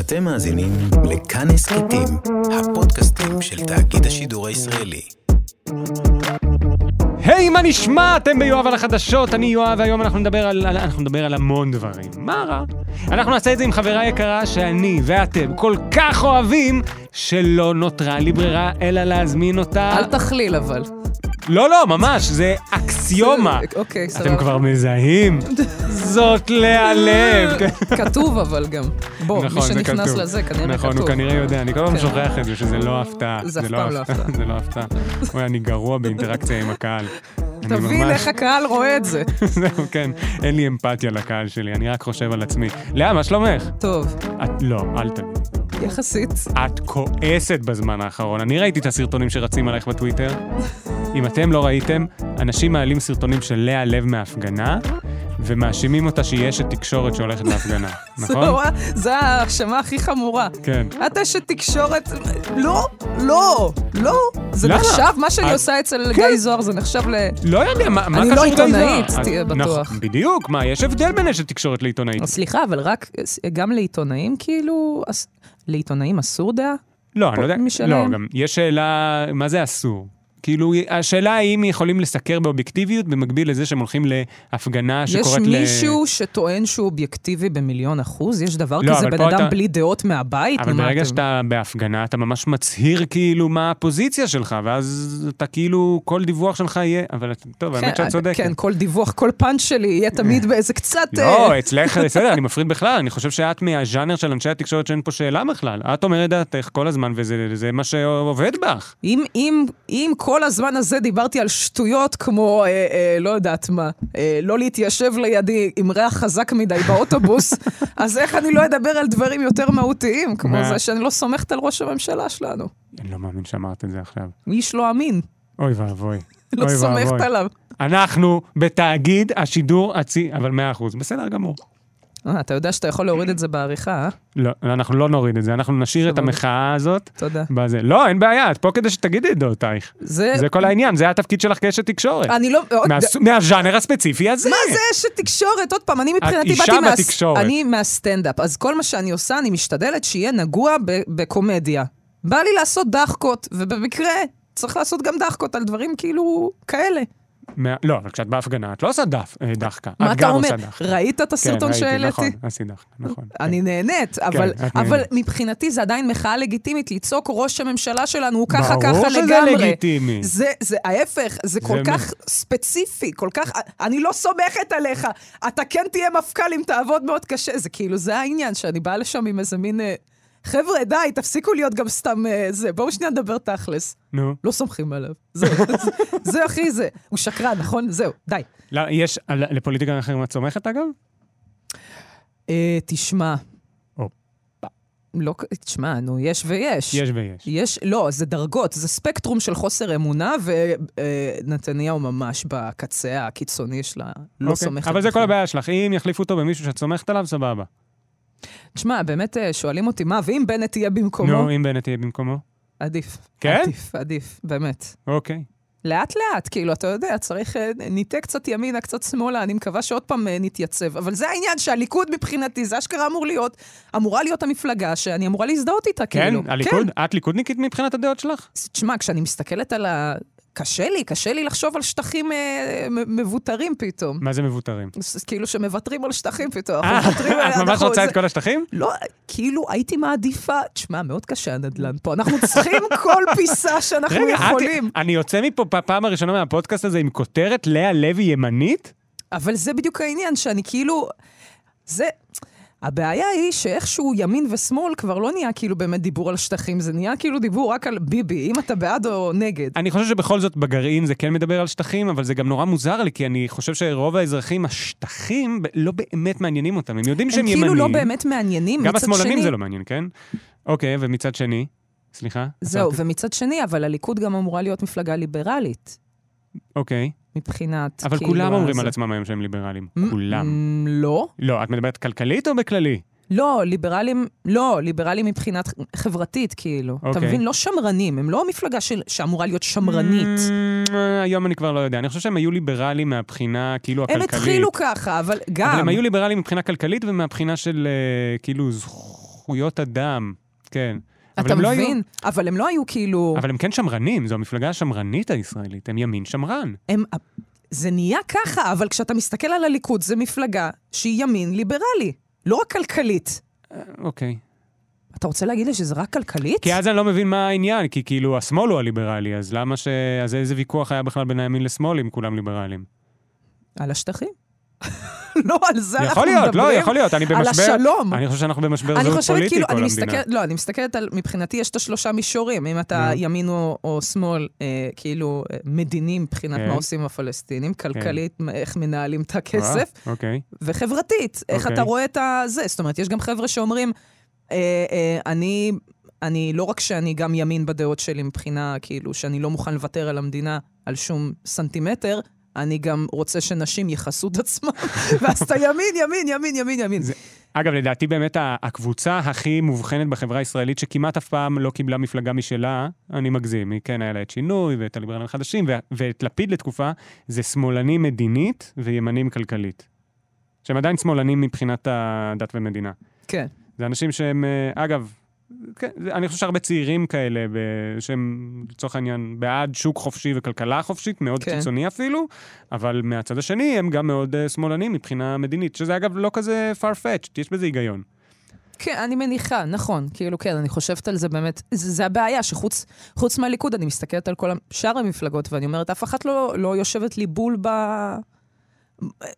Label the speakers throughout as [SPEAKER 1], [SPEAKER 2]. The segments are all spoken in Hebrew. [SPEAKER 1] אתם מאזינים לכאן הסכתים, הפודקאסטים של תאגיד השידור הישראלי.
[SPEAKER 2] היי, מה נשמע? אתם ביואב על החדשות, אני יואב, והיום אנחנו נדבר על, על, אנחנו נדבר על המון דברים. מה רע? אנחנו נעשה את זה עם חברה יקרה שאני ואתם כל כך אוהבים, שלא נותרה לי ברירה אלא להזמין אותה.
[SPEAKER 3] אל תכליל אבל.
[SPEAKER 2] לא, לא, ממש, זה אקסיומה.
[SPEAKER 3] אוקיי, סבבה.
[SPEAKER 2] אתם כבר מזהים? זאת לאה לב.
[SPEAKER 3] כתוב אבל גם. בוא, מי
[SPEAKER 2] כן. נכון, זה
[SPEAKER 3] שנכנס
[SPEAKER 2] כתוב.
[SPEAKER 3] לזה כנראה כתוב.
[SPEAKER 2] נכון, הוא כנראה יודע, אני כל הזמן
[SPEAKER 3] כן.
[SPEAKER 2] שוכח את זה, שזה לא הפתעה.
[SPEAKER 3] זה אף פעם לא הפתעה.
[SPEAKER 2] זה לא הפתעה. אוי, אני גרוע באינטראקציה עם הקהל. אני
[SPEAKER 3] תבין
[SPEAKER 2] ממש-
[SPEAKER 3] איך הקהל רואה את זה.
[SPEAKER 2] זהו, כן, אין לי אמפתיה לקהל שלי, אני רק חושב על עצמי. לאה, מה שלומך?
[SPEAKER 3] טוב,
[SPEAKER 2] את, לא, אל תגידי.
[SPEAKER 3] יחסית.
[SPEAKER 2] את כועסת בזמן האחרון. אני ראיתי את הסרטונים שרצים עלייך בטוויטר. אם אתם לא ראיתם, אנשים מעלים סרטונים של לאה לב מהפגנה, ומאשימים אותה שהיא אשת תקשורת שהולכת להפגנה, נכון?
[SPEAKER 3] זו- זו ההאשמה הכי חמורה.
[SPEAKER 2] כן.
[SPEAKER 3] את אשת תקשורת... לא, לא, לא. זה
[SPEAKER 2] למה?
[SPEAKER 3] נחשב, מה שאני
[SPEAKER 2] את-
[SPEAKER 3] עושה אצל
[SPEAKER 2] כן.
[SPEAKER 3] גיא זוהר זה נחשב ל...
[SPEAKER 2] לא יודע, מה מה
[SPEAKER 3] אני
[SPEAKER 2] קשור
[SPEAKER 3] לא
[SPEAKER 2] גיא זוהר?
[SPEAKER 3] עיתונאית,
[SPEAKER 2] אז-
[SPEAKER 3] תהיה בטוח.
[SPEAKER 2] נכון, בדיוק, מה, יש הבדל בין אשת תקשורת לעיתונאית.
[SPEAKER 3] סליחה, אבל רק, גם לעיתונאים כאילו... אס- לעיתונאים אסור דעה?
[SPEAKER 2] לא, אני לא יודע,
[SPEAKER 3] משלהם.
[SPEAKER 2] לא, גם יש שאלה, מה זה אסור? כאילו, השאלה האם יכולים לסקר באובייקטיביות במקביל לזה שהם הולכים להפגנה
[SPEAKER 3] יש
[SPEAKER 2] שקוראת ל...
[SPEAKER 3] מישהו שטוען שהוא אובייקטיבי במיליון אחוז? יש דבר
[SPEAKER 2] לא,
[SPEAKER 3] כזה
[SPEAKER 2] אבל
[SPEAKER 3] בן
[SPEAKER 2] פה
[SPEAKER 3] אדם
[SPEAKER 2] אתה-
[SPEAKER 3] בלי דעות מהבית?
[SPEAKER 2] אבל
[SPEAKER 3] מה
[SPEAKER 2] ברגע
[SPEAKER 3] אתם-
[SPEAKER 2] שאתה בהפגנה, אתה ממש מצהיר כאילו מה הפוזיציה שלך, ואז אתה כאילו, כל דיווח שלך יהיה, אבל את- טוב, האמת שאת
[SPEAKER 3] כן,
[SPEAKER 2] צודקת.
[SPEAKER 3] כן, כל דיווח, כל פאנץ' שלי יהיה תמיד באיזה קצת...
[SPEAKER 2] לא,
[SPEAKER 3] אה,
[SPEAKER 2] אצלך, בסדר, אני מפריד בכלל, אני חושב שאת מהז'אנר של אנשי התקשורת שאין פה שאלה בכלל. את אומרת דעתך כל הזמן, וזה זה מה שעובד בך.
[SPEAKER 3] אם, אם, אם כל הזמן הזה דיברתי על שטויות כמו, אה, אה, לא יודעת מה, אה, לא להתיישב לידי עם ריח חזק מדי באוטובוס, אז איך אני לא אדבר על דברים יותר מהותיים, כמו
[SPEAKER 2] מה?
[SPEAKER 3] זה שאני לא סומכת על ראש הממשלה שלנו.
[SPEAKER 2] אני לא מאמין שאמרת את זה עכשיו.
[SPEAKER 3] איש לא אמין,
[SPEAKER 2] אוי ואבוי.
[SPEAKER 3] לא
[SPEAKER 2] אוי
[SPEAKER 3] סומכת
[SPEAKER 2] ואבוי.
[SPEAKER 3] עליו.
[SPEAKER 2] אנחנו בתאגיד השידור הצי... אבל מאה אחוז, בסדר גמור.
[SPEAKER 3] אה, אתה יודע שאתה יכול להוריד את זה בעריכה, אה?
[SPEAKER 2] לא, אנחנו לא נוריד את זה, אנחנו נשאיר את
[SPEAKER 3] סבבה.
[SPEAKER 2] המחאה הזאת.
[SPEAKER 3] תודה.
[SPEAKER 2] בזה. לא, אין בעיה, את פה כדי שתגידי את דעותייך. זה כל העניין, זה התפקיד שלך כאשת תקשורת.
[SPEAKER 3] אני לא... עוד-
[SPEAKER 2] מהס- מהז'אנר הספציפי הזה.
[SPEAKER 3] מה זה אשת תקשורת? עוד פעם, אני מבחינתי
[SPEAKER 2] אישה
[SPEAKER 3] באתי מה...
[SPEAKER 2] בתקשורת.
[SPEAKER 3] אני מהסטנדאפ, אז כל מה שאני עושה, אני משתדלת שיהיה נגוע ב- בקומדיה. בא לי לעשות דחקות, ובמקרה צריך לעשות גם דחקות על דברים כאילו כאלה.
[SPEAKER 2] מה- לא, אבל כשאת בהפגנה, את לא עושה דף, אה, דחקה.
[SPEAKER 3] מה
[SPEAKER 2] את
[SPEAKER 3] אתה
[SPEAKER 2] גם
[SPEAKER 3] אומר?
[SPEAKER 2] עושה דחקה.
[SPEAKER 3] ראית את
[SPEAKER 2] כן,
[SPEAKER 3] הסרטון
[SPEAKER 2] ראיתי,
[SPEAKER 3] שהעליתי?
[SPEAKER 2] נכון, עשית דחקה, נכון.
[SPEAKER 3] אני נהנית, אבל,
[SPEAKER 2] את
[SPEAKER 3] אבל
[SPEAKER 2] נהנית.
[SPEAKER 3] מבחינתי זה עדיין מחאה לגיטימית, לצעוק ראש הממשלה שלנו הוא
[SPEAKER 2] כן.
[SPEAKER 3] ככה ככה לגמרי.
[SPEAKER 2] ברור שזה לגיטימי.
[SPEAKER 3] זה, זה ההפך, זה כל
[SPEAKER 2] כן. זה מ-
[SPEAKER 3] כך ספציפי, כל כך, אני לא סומכת עליך, אתה כן תהיה מפכ"ל אם תעבוד מאוד קשה. זה כאילו, זה העניין, שאני באה לשם עם איזה מין... אה, חבר'ה, די, תפסיקו להיות גם סתם אה, זה, בואו שנייה נדבר תכלס.
[SPEAKER 2] נו,
[SPEAKER 3] לא סומכים עליו. זהו, זהו, אחי, זה. הוא שקרן, נכון? זהו, די.
[SPEAKER 2] לא, יש, על- לפוליטיקה אחרים את סומכת אגב?
[SPEAKER 3] לא אה, תשמע.
[SPEAKER 2] הופה.
[SPEAKER 3] לא, כ- תשמע, נו, יש ויש.
[SPEAKER 2] יש ויש.
[SPEAKER 3] יש, לא, זה דרגות, זה ספקטרום של חוסר אמונה, ונתניהו ממש בקצה הקיצוני שלה, לא
[SPEAKER 2] אוקיי.
[SPEAKER 3] סומכת.
[SPEAKER 2] אבל זה כל
[SPEAKER 3] בכלל.
[SPEAKER 2] הבעיה שלך, אם יחליפו אותו במישהו שאת סומכת עליו, סבבה.
[SPEAKER 3] תשמע, באמת אה, שואלים אותי, מה, ואם בנט יהיה במקומו?
[SPEAKER 2] נו, אם בנט יהיה במקומו.
[SPEAKER 3] עדיף.
[SPEAKER 2] כן?
[SPEAKER 3] עדיף, עדיף, באמת.
[SPEAKER 2] אוקיי.
[SPEAKER 3] לאט-לאט, כאילו, אתה יודע, צריך, אה, ניטה קצת ימינה, קצת שמאלה, אני מקווה שעוד פעם אה, נתייצב. אבל זה העניין, שהליכוד מבחינתי, זה אשכרה אמור להיות, אמורה להיות המפלגה שאני אמורה להזדהות איתה,
[SPEAKER 2] כן,
[SPEAKER 3] כאילו.
[SPEAKER 2] הליכוד? את ליכודניקית מבחינת הדעות שלך?
[SPEAKER 3] תשמע, כשאני מסתכלת על ה... קשה לי, קשה לי לחשוב על שטחים אה, מ- מבותרים פתאום.
[SPEAKER 2] מה זה מבוטרים?
[SPEAKER 3] ס- כאילו שמוותרים על שטחים פתאום.
[SPEAKER 2] אה,
[SPEAKER 3] אנחנו מוותרים על-
[SPEAKER 2] את ממש
[SPEAKER 3] אנחנו-
[SPEAKER 2] רוצה
[SPEAKER 3] זה-
[SPEAKER 2] את כל השטחים?
[SPEAKER 3] לא, כאילו הייתי מעדיפה, תשמע, מאוד קשה הנדל"ן פה, אנחנו צריכים כל פיסה שאנחנו
[SPEAKER 2] רגע, את-
[SPEAKER 3] יכולים.
[SPEAKER 2] אני יוצא מפה פ- פעם הראשונה מהפודקאסט הזה עם כותרת לאה לוי ימנית?
[SPEAKER 3] אבל זה בדיוק העניין, שאני כאילו... זה... הבעיה היא שאיכשהו ימין ושמאל כבר לא נהיה כאילו באמת דיבור על שטחים, זה נהיה כאילו דיבור רק על ביבי, אם אתה בעד או נגד.
[SPEAKER 2] אני חושב שבכל זאת בגרעין זה כן מדבר על שטחים, אבל זה גם נורא מוזר לי, כי אני חושב שרוב האזרחים, השטחים ב- לא באמת מעניינים אותם. הם יודעים
[SPEAKER 3] הם
[SPEAKER 2] שהם ימנים.
[SPEAKER 3] כאילו לא באמת מעניינים,
[SPEAKER 2] גם
[SPEAKER 3] מצד
[SPEAKER 2] השמאלנים
[SPEAKER 3] שני-
[SPEAKER 2] זה לא מעניין, כן? אוקיי, ומצד שני? סליחה?
[SPEAKER 3] זהו,
[SPEAKER 2] עצרתי.
[SPEAKER 3] ומצד שני, אבל הליכוד גם אמורה להיות מפלגה ליברלית,
[SPEAKER 2] אוקיי.
[SPEAKER 3] מבחינת...
[SPEAKER 2] אבל
[SPEAKER 3] כאילו,
[SPEAKER 2] כולם אומרים
[SPEAKER 3] הזה.
[SPEAKER 2] על עצמם היום שהם ליברלים.
[SPEAKER 3] מ-
[SPEAKER 2] כולם.
[SPEAKER 3] מ, לא.
[SPEAKER 2] לא, את מדברת כלכלית או בכללי?
[SPEAKER 3] לא, ליברלים, לא, ליברלים מבחינת חברתית, כאילו. אתה
[SPEAKER 2] אוקיי.
[SPEAKER 3] מבין? לא שמרנים, הם לא מפלגה של- שאמורה להיות שמרנית.
[SPEAKER 2] Mm, היום אני כבר לא יודע. אני חושב שהם היו ליברלים מהבחינה כאילו
[SPEAKER 3] הם
[SPEAKER 2] הכלכלית.
[SPEAKER 3] התחילו ככה, אבל גם...
[SPEAKER 2] אבל הם היו ליברלים מבחינה כלכלית ומהבחינה של אה, כאילו זכ- זכויות אדם, כן. אבל
[SPEAKER 3] אתה
[SPEAKER 2] הם לא היו-
[SPEAKER 3] מבין? אבל הם לא היו כאילו...
[SPEAKER 2] אבל הם כן שמרנים, זו המפלגה השמרנית הישראלית, הם ימין שמרן.
[SPEAKER 3] הם... זה נהיה ככה, אבל כשאתה מסתכל על הליכוד, זו מפלגה שהיא ימין ליברלי, לא רק כלכלית.
[SPEAKER 2] אוקיי.
[SPEAKER 3] אתה רוצה להגיד לי שזה רק כלכלית?
[SPEAKER 2] כי אז אני לא מבין מה העניין, כי כאילו השמאל הוא הליברלי, אז למה ש... אז איזה ויכוח היה בכלל בין הימין לשמאל אם כולם ליברלים?
[SPEAKER 3] על השטחים. לא, על זה אנחנו
[SPEAKER 2] יכול
[SPEAKER 3] מדברים.
[SPEAKER 2] להיות, לא, יכול להיות, אני
[SPEAKER 3] על
[SPEAKER 2] במשבר...
[SPEAKER 3] השלום.
[SPEAKER 2] אני חושב שאנחנו במשבר
[SPEAKER 3] אני
[SPEAKER 2] זהות
[SPEAKER 3] חושבת
[SPEAKER 2] פוליטי
[SPEAKER 3] כאילו,
[SPEAKER 2] כל
[SPEAKER 3] אני
[SPEAKER 2] המדינה.
[SPEAKER 3] מסתכלת, לא, אני מסתכלת על, מבחינתי יש את השלושה מישורים, אם אתה
[SPEAKER 2] Mm.
[SPEAKER 3] ימין או, או שמאל, אה, כאילו אה, מדיני מבחינת
[SPEAKER 2] כן. אה.
[SPEAKER 3] מה עושים עם הפלסטינים, כלכלית, מה- איך מנהלים את הכסף,
[SPEAKER 2] וואו, אוקיי.
[SPEAKER 3] וחברתית, איך
[SPEAKER 2] אוקיי.
[SPEAKER 3] אתה רואה את הזה. זאת אומרת, יש גם חבר'ה שאומרים, אה, אה, אני, אני, לא רק שאני גם ימין בדעות שלי מבחינה, כאילו, שאני לא מוכן לוותר על המדינה על שום סנטימטר, אני גם רוצה שנשים יכסו את עצמם, ואז אתה ימין, ימין, ימין, ימין, ימין.
[SPEAKER 2] זה- אגב, לדעתי באמת ה- הקבוצה הכי מובחנת בחברה הישראלית, שכמעט אף פעם לא קיבלה מפלגה משלה, אני מגזים, היא כן היה לה את שינוי ואת הליברלים החדשים וה- ואת לפיד לתקופה, זה שמאלנים מדינית וימנים כלכלית. שהם עדיין שמאלנים מבחינת הדת ומדינה.
[SPEAKER 3] כן.
[SPEAKER 2] זה אנשים שהם, אה, אגב, כן, זה- אני חושב שהרבה צעירים כאלה, ב- שהם לצורך העניין בעד שוק חופשי וכלכלה חופשית, מאוד
[SPEAKER 3] כן.
[SPEAKER 2] כן. קיצוני אפילו, אבל מהצד השני הם גם מאוד אה, שמאלנים מבחינה מדינית, שזה אגב לא כזה farfetched, יש בזה היגיון.
[SPEAKER 3] כן, אני מניחה, נכון. כאילו, כן, אני חושבת על זה באמת. זה, זה הבעיה, שחוץ חוץ מהליכוד, אני מסתכלת על כל ה- שאר המפלגות, ואני אומרת, אף אחת לא, לא יושבת לי בול ב...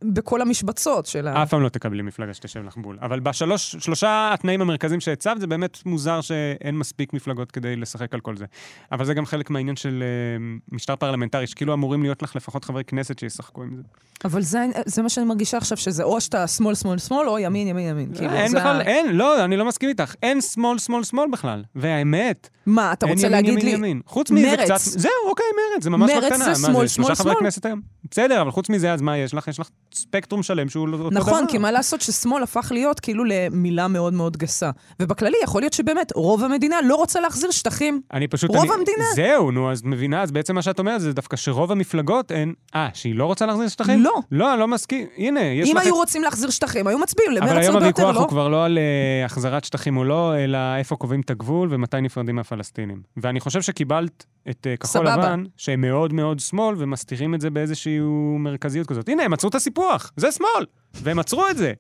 [SPEAKER 3] בכל המשבצות של ה...
[SPEAKER 2] אף פעם לא תקבלי מפלגה שתשב לך בול. אבל בשלוש, שלושה התנאים המרכזיים שהצבת, זה באמת מוזר שאין מספיק מפלגות כדי לשחק על כל זה. אבל זה גם חלק מהעניין של אה, משטר פרלמנטרי, שכאילו אמורים להיות לך לפחות חברי כנסת שישחקו עם זה.
[SPEAKER 3] אבל זה, זה מה שאני מרגישה עכשיו, שזה או שאתה שמאל, שמאל, שמאל, או ימין, ימין, ימין. כאילו,
[SPEAKER 2] אין
[SPEAKER 3] זה
[SPEAKER 2] בכלל,
[SPEAKER 3] ה-
[SPEAKER 2] אין, לא, אני לא מסכים איתך. אין שמאל, שמאל, שמאל בכלל. והאמת,
[SPEAKER 3] מה, אתה
[SPEAKER 2] אין
[SPEAKER 3] רוצה
[SPEAKER 2] ימין,
[SPEAKER 3] להגיד
[SPEAKER 2] ימין,
[SPEAKER 3] לי...
[SPEAKER 2] ימין. חוץ מזה
[SPEAKER 3] מרצ.
[SPEAKER 2] קצת... זהו, אוקיי, מרץ, זה ממש
[SPEAKER 3] מרצ
[SPEAKER 2] לא
[SPEAKER 3] זה
[SPEAKER 2] קטנה. מה
[SPEAKER 3] שמאל,
[SPEAKER 2] שלושה
[SPEAKER 3] שמאל,
[SPEAKER 2] חברי
[SPEAKER 3] שמאל.
[SPEAKER 2] כנסת היום. בסדר, אבל חוץ מזה, אז מה יש לך? יש לך ספקטרום שלם שהוא לא- אותו דבר.
[SPEAKER 3] נכון, כי מה לעשות ששמאל הפך להיות כאילו למילה מאוד מאוד גסה. ובכללי, יכול להיות שבאמת רוב המדינה לא רוצה להחזיר שטחים.
[SPEAKER 2] אני פשוט...
[SPEAKER 3] רוב
[SPEAKER 2] אני,
[SPEAKER 3] המדינה.
[SPEAKER 2] זהו, נו, אז את מבינה, אז בעצם מה שאת אומרת זה דווקא שרוב המפלגות הן... אה, שהיא לא רוצה להחזיר שטחים?
[SPEAKER 3] לא.
[SPEAKER 2] לא, אני לא מסכים. הנה, יש
[SPEAKER 3] אם
[SPEAKER 2] לך...
[SPEAKER 3] היו רוצים להחזיר שטחים, היו מצביעים
[SPEAKER 2] אבל
[SPEAKER 3] למרץ
[SPEAKER 2] היום
[SPEAKER 3] הרבה יותר,
[SPEAKER 2] הוויכוח
[SPEAKER 3] לא?
[SPEAKER 2] הוא כבר לא על אה, החזרת שטחים או לא, אלא איפה קובעים את הגבול ומתי נפרדים מהפלסטינים. ואני חושב שקיבלת את אה, כחול
[SPEAKER 3] סבבה.
[SPEAKER 2] לבן, שהם מאוד מאוד שמאל, ומסתירים את זה באיזושהי מרכזיות כזאת. הנה, הם עצרו את הסיפוח, זה שמאל! והם עצרו את זה.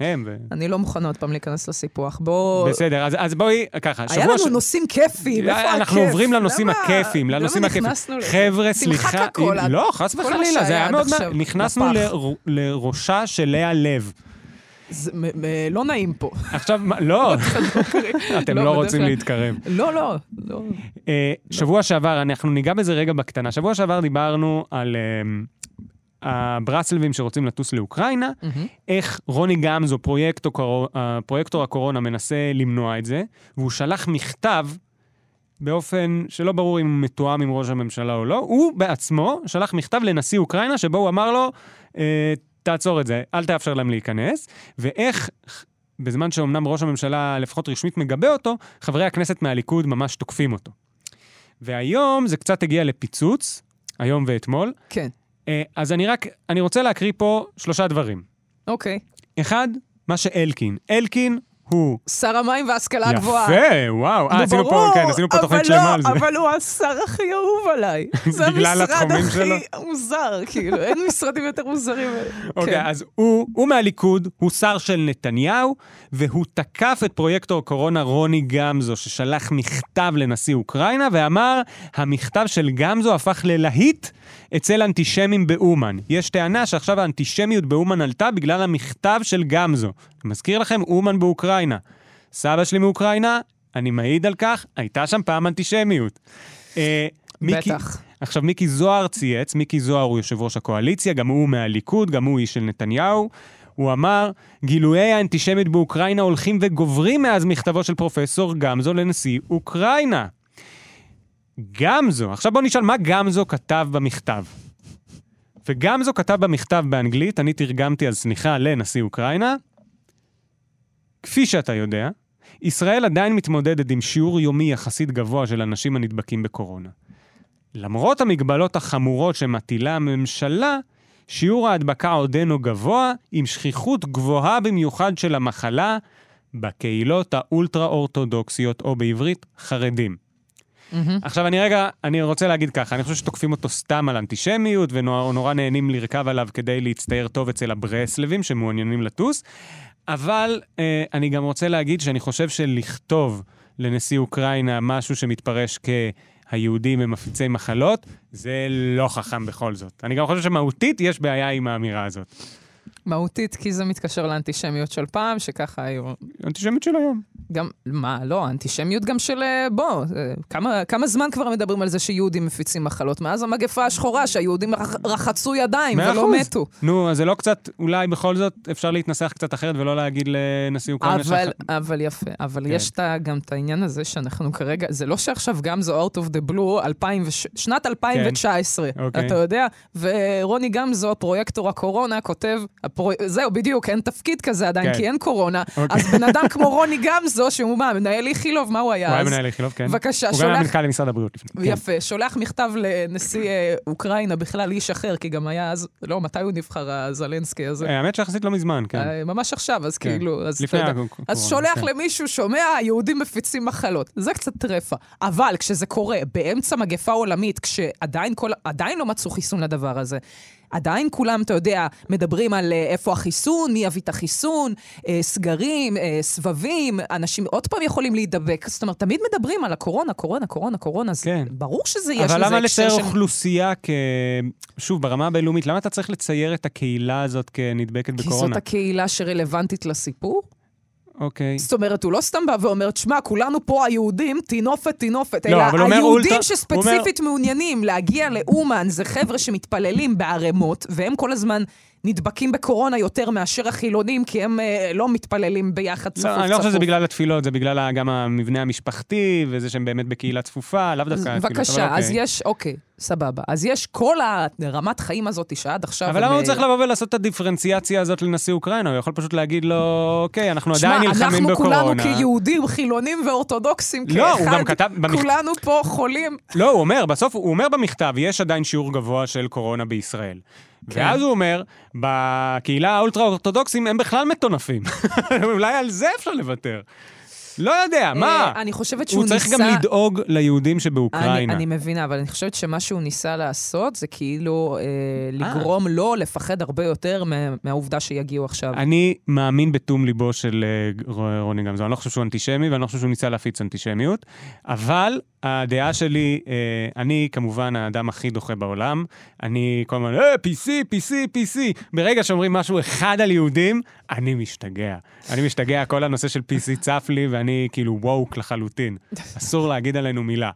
[SPEAKER 2] הם, ו...
[SPEAKER 3] אני לא מוכנה עוד פעם להיכנס לסיפוח. בואו...
[SPEAKER 2] בסדר, אז, אז בואי, ככה, שבוע...
[SPEAKER 3] היה
[SPEAKER 2] ש-
[SPEAKER 3] לנו נושאים כיפיים, איפה הכיף?
[SPEAKER 2] אנחנו עוברים לנושאים
[SPEAKER 3] למה-
[SPEAKER 2] הכיפיים, לנושאים הכיפיים.
[SPEAKER 3] למה נכנסנו לזה?
[SPEAKER 2] חבר'ה,
[SPEAKER 3] תמחק
[SPEAKER 2] סליחה.
[SPEAKER 3] הכל,
[SPEAKER 2] אם- לא, חס
[SPEAKER 3] כל מה
[SPEAKER 2] וחלילה, זה
[SPEAKER 3] שהיה
[SPEAKER 2] היה
[SPEAKER 3] עד
[SPEAKER 2] מאוד... מה-
[SPEAKER 3] עכשיו
[SPEAKER 2] נכנסנו
[SPEAKER 3] לפח.
[SPEAKER 2] לר- לראשה של לאה לב.
[SPEAKER 3] זה מ- מ- לא נעים פה.
[SPEAKER 2] עכשיו, מה- לא, אתם
[SPEAKER 3] לא,
[SPEAKER 2] לא
[SPEAKER 3] בדרך
[SPEAKER 2] רוצים
[SPEAKER 3] כלל.
[SPEAKER 2] להתקרב.
[SPEAKER 3] לא, לא, לא.
[SPEAKER 2] אה, שבוע שעבר, אנחנו ניגע בזה רגע בקטנה. שבוע שעבר דיברנו על אה, הברסלבים שרוצים לטוס לאוקראינה,
[SPEAKER 3] מהמם.
[SPEAKER 2] איך רוני גמזו, פרויקטור, קורו- אה, פרויקטור הקורונה, מנסה למנוע את זה, והוא שלח מכתב באופן שלא ברור אם הוא מתואם עם ראש הממשלה או לא, הוא בעצמו שלח מכתב לנשיא אוקראינה, שבו הוא אמר לו, אה, תעצור את זה, אל תאפשר להם להיכנס, ואיך... בזמן שאומנם ראש הממשלה לפחות רשמית מגבה אותו, חברי הכנסת מהליכוד ממש תוקפים אותו. והיום זה קצת הגיע לפיצוץ, היום ואתמול.
[SPEAKER 3] כן,
[SPEAKER 2] אה, אז אני רק, אני רוצה להקריא פה שלושה דברים.
[SPEAKER 3] אוקיי.
[SPEAKER 2] אחד, מה שאלקין. אלקין הוא...
[SPEAKER 3] שר המים וההשכלה הגבוהה.
[SPEAKER 2] יפה, וואו. אה,
[SPEAKER 3] נו,
[SPEAKER 2] עשינו פה,
[SPEAKER 3] ברור,
[SPEAKER 2] כן, עשינו פה
[SPEAKER 3] אבל
[SPEAKER 2] תוכנית
[SPEAKER 3] לא,
[SPEAKER 2] שלמה על זה.
[SPEAKER 3] אבל הוא השר הכי אהוב עליי. זה
[SPEAKER 2] בגלל
[SPEAKER 3] המשרד
[SPEAKER 2] התחומים
[SPEAKER 3] הכי מוזר, כאילו, אין משרדים יותר מוזרים.
[SPEAKER 2] אוקיי,
[SPEAKER 3] כן.
[SPEAKER 2] אז הוא, הוא מהליכוד, הוא שר של נתניהו, והוא תקף את פרויקטור קורונה רוני גמזו, ששלח מכתב לנשיא אוקראינה, ואמר, המכתב של גמזו הפך ללהיט אצל אנטישמים באומן. יש טענה שעכשיו האנטישמיות באומן עלתה בגלל המכתב של גמזו. אני מזכיר לכם, אומן באוקראינה. סבא שלי מאוקראינה, אני מעיד על כך, הייתה שם פעם אנטישמיות. אה, מיקי-
[SPEAKER 3] בטח.
[SPEAKER 2] עכשיו, מיקי זוהר צייץ, מיקי זוהר הוא יושב ראש הקואליציה, גם הוא מהליכוד, גם הוא איש של נתניהו. הוא אמר, גילויי האנטישמיות באוקראינה הולכים וגוברים מאז מכתבו של פרופסור גמזו לנשיא אוקראינה. גמזו, עכשיו בוא נשאל מה גמזו כתב במכתב. וגמזו כתב במכתב באנגלית, אני תרגמתי אז סליחה לנשיא אוקראינה. כפי שאתה יודע, ישראל עדיין מתמודדת עם שיעור יומי יחסית גבוה של אנשים הנדבקים בקורונה. למרות המגבלות החמורות שמטילה הממשלה, שיעור ההדבקה עודנו גבוה, עם שכיחות גבוהה במיוחד של המחלה, בקהילות האולטרה-אורתודוקסיות, או בעברית, חרדים. עכשיו, אני רגע, אני רוצה להגיד ככה, אני חושב שתוקפים אותו סתם על אנטישמיות, ונורא נהנים לרכב עליו כדי להצטייר טוב אצל הברסלבים שמעוניינים לטוס, אבל אה, אני גם רוצה להגיד שאני חושב שלכתוב לנשיא אוקראינה משהו שמתפרש כ... היהודים הם מפיצי מחלות, זה לא חכם בכל זאת. אני גם חושב שמהותית יש בעיה עם האמירה הזאת.
[SPEAKER 3] מהותית, כי זה מתקשר לאנטישמיות של פעם, שככה היו...
[SPEAKER 2] אנטישמית של היום.
[SPEAKER 3] גם, מה, לא, האנטישמיות גם של... אה, בוא, אה, כמה, כמה זמן כבר מדברים על זה שיהודים מפיצים מחלות? מאז המגפה השחורה, שהיהודים רח, רחצו ידיים
[SPEAKER 2] מאה
[SPEAKER 3] ולא
[SPEAKER 2] אחוז.
[SPEAKER 3] מתו.
[SPEAKER 2] נו, אז זה לא קצת, אולי בכל זאת אפשר להתנסח קצת אחרת ולא להגיד לנשיא אוקראינה
[SPEAKER 3] אבל,
[SPEAKER 2] שאחר...
[SPEAKER 3] אבל יפה, אבל
[SPEAKER 2] כן.
[SPEAKER 3] כן. יש את ה- גם את העניין הזה שאנחנו כרגע, זה לא שעכשיו גם זו out of the blue, 2000, וש- שנת 2019,
[SPEAKER 2] כן. אוקיי.
[SPEAKER 3] אתה יודע, ורוני גמזו, פרויקטור הקורונה, כותב, הפרו... זהו, בדיוק, אין תפקיד כזה עדיין,
[SPEAKER 2] כן.
[SPEAKER 3] כן. כי אין קורונה,
[SPEAKER 2] אוקיי.
[SPEAKER 3] אוקיי. אז בן אדם כמו רוני גמזו, שהוא מה, מנהל איכילוב, מה הוא היה
[SPEAKER 2] הוא היה
[SPEAKER 3] אז?
[SPEAKER 2] מנהל איכילוב, כן.
[SPEAKER 3] בבקשה,
[SPEAKER 2] הוא גם היה
[SPEAKER 3] שולח-
[SPEAKER 2] מנכ"ל למשרד הבריאות לפני. כן.
[SPEAKER 3] יפה, שולח מכתב לנשיא אה, אוקראינה, בכלל איש אחר, כי גם היה אז, לא, מתי הוא נבחר, הזלנסקי הזה?
[SPEAKER 2] אה, האמת שיחסית לא מזמן, כן.
[SPEAKER 3] אה, ממש עכשיו, אז
[SPEAKER 2] כן.
[SPEAKER 3] כאילו, אז
[SPEAKER 2] לפני
[SPEAKER 3] אתה יודע.
[SPEAKER 2] הקורונה,
[SPEAKER 3] אז שולח
[SPEAKER 2] כן.
[SPEAKER 3] למישהו, שומע, היהודים מפיצים מחלות. זה קצת טרפה. אבל כשזה קורה באמצע מגפה עולמית, כשעדיין כל, עדיין לא מצאו חיסון לדבר הזה, עדיין כולם, אתה יודע, מדברים על אה, איפה החיסון, מי יביא את החיסון, אה, סגרים, אה, סבבים, אנשים עוד פעם יכולים להידבק. זאת אומרת, תמיד מדברים על הקורונה, קורונה, קורונה, קורונה, אז
[SPEAKER 2] כן.
[SPEAKER 3] ברור שזה יש לזה
[SPEAKER 2] אבל למה
[SPEAKER 3] הקשר
[SPEAKER 2] לצייר
[SPEAKER 3] של...
[SPEAKER 2] אוכלוסייה כ... שוב, ברמה הבינלאומית, למה אתה צריך לצייר את הקהילה הזאת כנדבקת
[SPEAKER 3] כי זאת
[SPEAKER 2] בקורונה?
[SPEAKER 3] הקהילה שרלוונטית לסיפור?
[SPEAKER 2] אוקיי.
[SPEAKER 3] זאת אומרת, הוא לא סתם בא ואומר, תשמע, כולנו פה היהודים, טינופת, טינופת,
[SPEAKER 2] לא,
[SPEAKER 3] אלא
[SPEAKER 2] אבל הוא אומר
[SPEAKER 3] היהודים
[SPEAKER 2] אולטרה-
[SPEAKER 3] שספציפית מעוניינים להגיע לאומן, זה חבר'ה שמתפללים בערימות, והם כל הזמן נדבקים בקורונה יותר מאשר החילונים, כי הם אה, לא מתפללים ביחד צפוף
[SPEAKER 2] לא,
[SPEAKER 3] צפוף.
[SPEAKER 2] אני לא חושב שזה בגלל התפילות, זה בגלל ה- גם המבנה המשפחתי, וזה שהם באמת בקהילה צפופה, לאו
[SPEAKER 3] אז
[SPEAKER 2] דווקא התפילות, אבל
[SPEAKER 3] בבקשה, אז
[SPEAKER 2] אוקיי.
[SPEAKER 3] יש, אוקיי, סבבה. אז יש כל הרמת חיים הזאת שעד עכשיו...
[SPEAKER 2] אבל למה
[SPEAKER 3] הם,
[SPEAKER 2] הוא צריך
[SPEAKER 3] אה,
[SPEAKER 2] לבוא ולעשות את הדיפרנציאציה הזאת לנשיא אוקראינה? הוא יכול פשוט להגיד לו, אוקיי, אנחנו
[SPEAKER 3] שמע,
[SPEAKER 2] עדיין נלחמים בקורונה.
[SPEAKER 3] אנחנו כולנו כיהודים, חילונים ואורתודוקסים כאחד,
[SPEAKER 2] לא, הוא גם כתב במכ-
[SPEAKER 3] כולנו פה חולים.
[SPEAKER 2] לא, הוא אומר, בסוף הוא אומר במכתב, יש עדיין שיעור גבוה של קורונה בישראל. כן. ואז הוא אומר, בקהילה האולטרה-אורתודוקסים הם בכלל מטונפים. אולי על זה אפשר לוותר. לא יודע, מה?
[SPEAKER 3] אה, אני חושבת שהוא
[SPEAKER 2] הוא
[SPEAKER 3] ניסה...
[SPEAKER 2] צריך גם לדאוג ליהודים שבאוקראינה.
[SPEAKER 3] אני, אני מבינה, אבל אני חושבת שמה שהוא ניסה לעשות זה כאילו אה, לגרום לו לפחד הרבה יותר מה, מהעובדה שיגיעו עכשיו.
[SPEAKER 2] אני מאמין בתום ליבו של אה, ר- רוני גמזו. אני לא חושב שהוא אנטישמי ואני לא חושב שהוא ניסה להפיץ אנטישמיות, אבל הדעה שלי, אה, אני כמובן האדם הכי דוחה בעולם. אני כל הזמן, אה, PC, PC, PC. ברגע שאומרים משהו אחד על יהודים, אני משתגע. אני משתגע, כל הנושא של PC צף לי ואני כאילו וואוק לחלוטין. אסור להגיד עלינו מילה.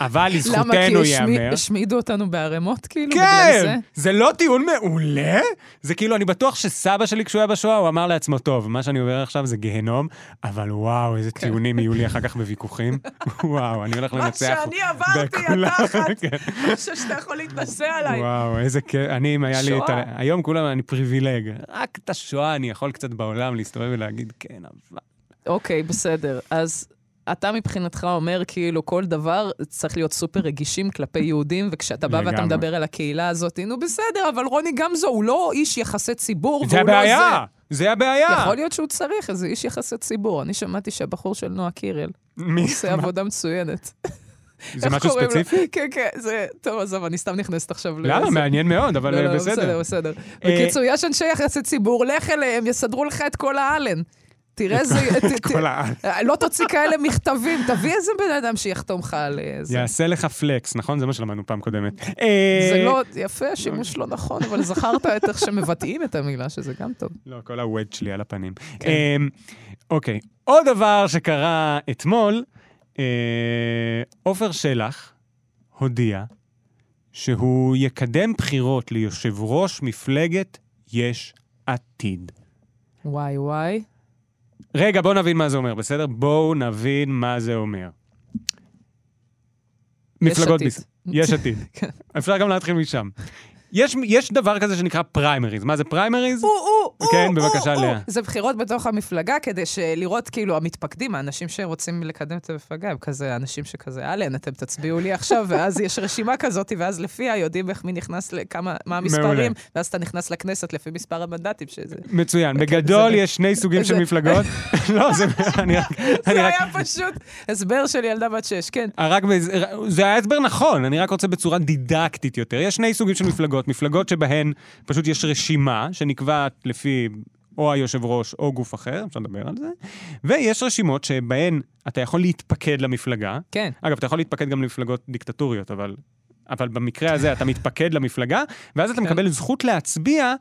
[SPEAKER 2] אבל
[SPEAKER 3] למה? כי
[SPEAKER 2] לזכותנו
[SPEAKER 3] השמי-
[SPEAKER 2] ייאמר.
[SPEAKER 3] השמידו אותנו בערימות כאילו? בגלל זה?
[SPEAKER 2] כן! זה לא טיעון מעולה? זה כאילו, אני בטוח שסבא שלי כשהוא היה בשואה, הוא אמר לעצמו, טוב, מה שאני עובר עכשיו זה גיהנום, אבל וואו, איזה
[SPEAKER 3] כן.
[SPEAKER 2] טיעונים יהיו לי אחר כך בוויכוחים. וואו, אני הולך
[SPEAKER 3] מה
[SPEAKER 2] לנצח.
[SPEAKER 3] שאני עברתי,
[SPEAKER 2] בכולם."
[SPEAKER 3] אתה אחת.
[SPEAKER 2] כן.
[SPEAKER 3] אני חושב שאתה יכול להתנשא עליי.
[SPEAKER 2] וואו, איזה כיף. אני, אם היה לי את ה...
[SPEAKER 3] שואה.
[SPEAKER 2] היום כולם, אני פריבילג. רק את השואה אני יכול קצת בעולם להסתובב ולהגיד, כן, אבל...
[SPEAKER 3] אוקיי, בסדר. אז אתה מבחינתך אומר כאילו כל דבר צריך להיות סופר רגישים כלפי יהודים, וכשאתה בא ואתה
[SPEAKER 2] לגמרי.
[SPEAKER 3] מדבר על הקהילה הזאת, נו בסדר, אבל רוני גמזו הוא לא איש יחסי ציבור,
[SPEAKER 2] זה
[SPEAKER 3] והוא לא
[SPEAKER 2] הבעיה! זה הבעיה!
[SPEAKER 3] יכול להיות שהוא צריך איזה איש יחסי ציבור. אני שמעתי שהבחור של נועה קירל
[SPEAKER 2] מי-
[SPEAKER 3] עושה עבודה מצוינת.
[SPEAKER 2] זה
[SPEAKER 3] איך
[SPEAKER 2] משהו
[SPEAKER 3] קוראים לו?
[SPEAKER 2] ספציפי?
[SPEAKER 3] כן, כן, זה... טוב, עזוב, אני סתם נכנסת עכשיו לזה.
[SPEAKER 2] למה? מעניין מאוד,
[SPEAKER 3] לא,
[SPEAKER 2] אבל
[SPEAKER 3] לא,
[SPEAKER 2] אה,
[SPEAKER 3] בסדר,
[SPEAKER 2] בסדר.
[SPEAKER 3] בסדר.
[SPEAKER 2] אה,
[SPEAKER 3] בקיצור, יש אנשי יחסי ציבור, לך אליהם, יסדרו לך את כל האלן. תראה איזה... ת- ת-
[SPEAKER 2] כל העם.
[SPEAKER 3] לא תוציא כאלה מכתבים, תביא איזה בן אדם שיחתום לך על אה, זה.
[SPEAKER 2] יעשה לך פלקס, נכון? זה מה שלמדנו פעם קודמת.
[SPEAKER 3] זה
[SPEAKER 2] אה,
[SPEAKER 3] לא, יפה, שימוש לא נכון, אבל זכרת את איך שמבטאים את המילה, שזה גם טוב.
[SPEAKER 2] לא, כל הווד שלי על הפנים.
[SPEAKER 3] כן.
[SPEAKER 2] אה, אוקיי, עוד דבר שקרה אתמול, אה, עופר שלח הודיע שהוא יקדם בחירות ליושב ראש מפלגת יש עתיד.
[SPEAKER 3] וואי וואי.
[SPEAKER 2] רגע, בואו נבין מה זה אומר, בסדר? בואו נבין מה זה אומר.
[SPEAKER 3] יש עתיד.
[SPEAKER 2] בישראל. יש עתיד.
[SPEAKER 3] כן.
[SPEAKER 2] אפשר גם להתחיל משם. יש, יש דבר כזה שנקרא פריימריז. מה זה פריימריז?
[SPEAKER 3] או, או, או,
[SPEAKER 2] כן,
[SPEAKER 3] או,
[SPEAKER 2] בבקשה,
[SPEAKER 3] או.
[SPEAKER 2] לאה.
[SPEAKER 3] זה בחירות בתוך המפלגה, כדי ש- לראות כאילו המתפקדים, האנשים שרוצים לקדם את המפלגה, הם כזה אנשים שכזה, אלן, אתם תצביעו לי עכשיו, ואז יש רשימה כזאת, ואז לפיה יודעים איך מי נכנס לכמה, מה
[SPEAKER 2] מעולה.
[SPEAKER 3] המספרים, ואז אתה נכנס לכנסת לפי מספר המנדטים שזה.
[SPEAKER 2] מצוין. בגדול
[SPEAKER 3] כן, זה-
[SPEAKER 2] יש שני סוגים של
[SPEAKER 3] זה-
[SPEAKER 2] מפלגות. לא, זה... אני רק... אני
[SPEAKER 3] זה
[SPEAKER 2] רק...
[SPEAKER 3] היה פשוט הסבר של ילדה בת שש, כן.
[SPEAKER 2] רק בז... זה היה הסבר נכון, אני רק רוצה בצורה דידקטית יותר. יש שני סוגים של מפלגות, מפלגות שבהן פשוט יש רשימה שנקבעת לפי או היושב ראש או גוף אחר, אפשר לדבר על זה, ויש רשימות שבהן אתה יכול להתפקד למפלגה.
[SPEAKER 3] כן.
[SPEAKER 2] אגב, אתה יכול להתפקד גם למפלגות דיקטטוריות, אבל, אבל במקרה הזה אתה מתפקד למפלגה, ואז אתה
[SPEAKER 3] כן.
[SPEAKER 2] מקבל זכות להצביע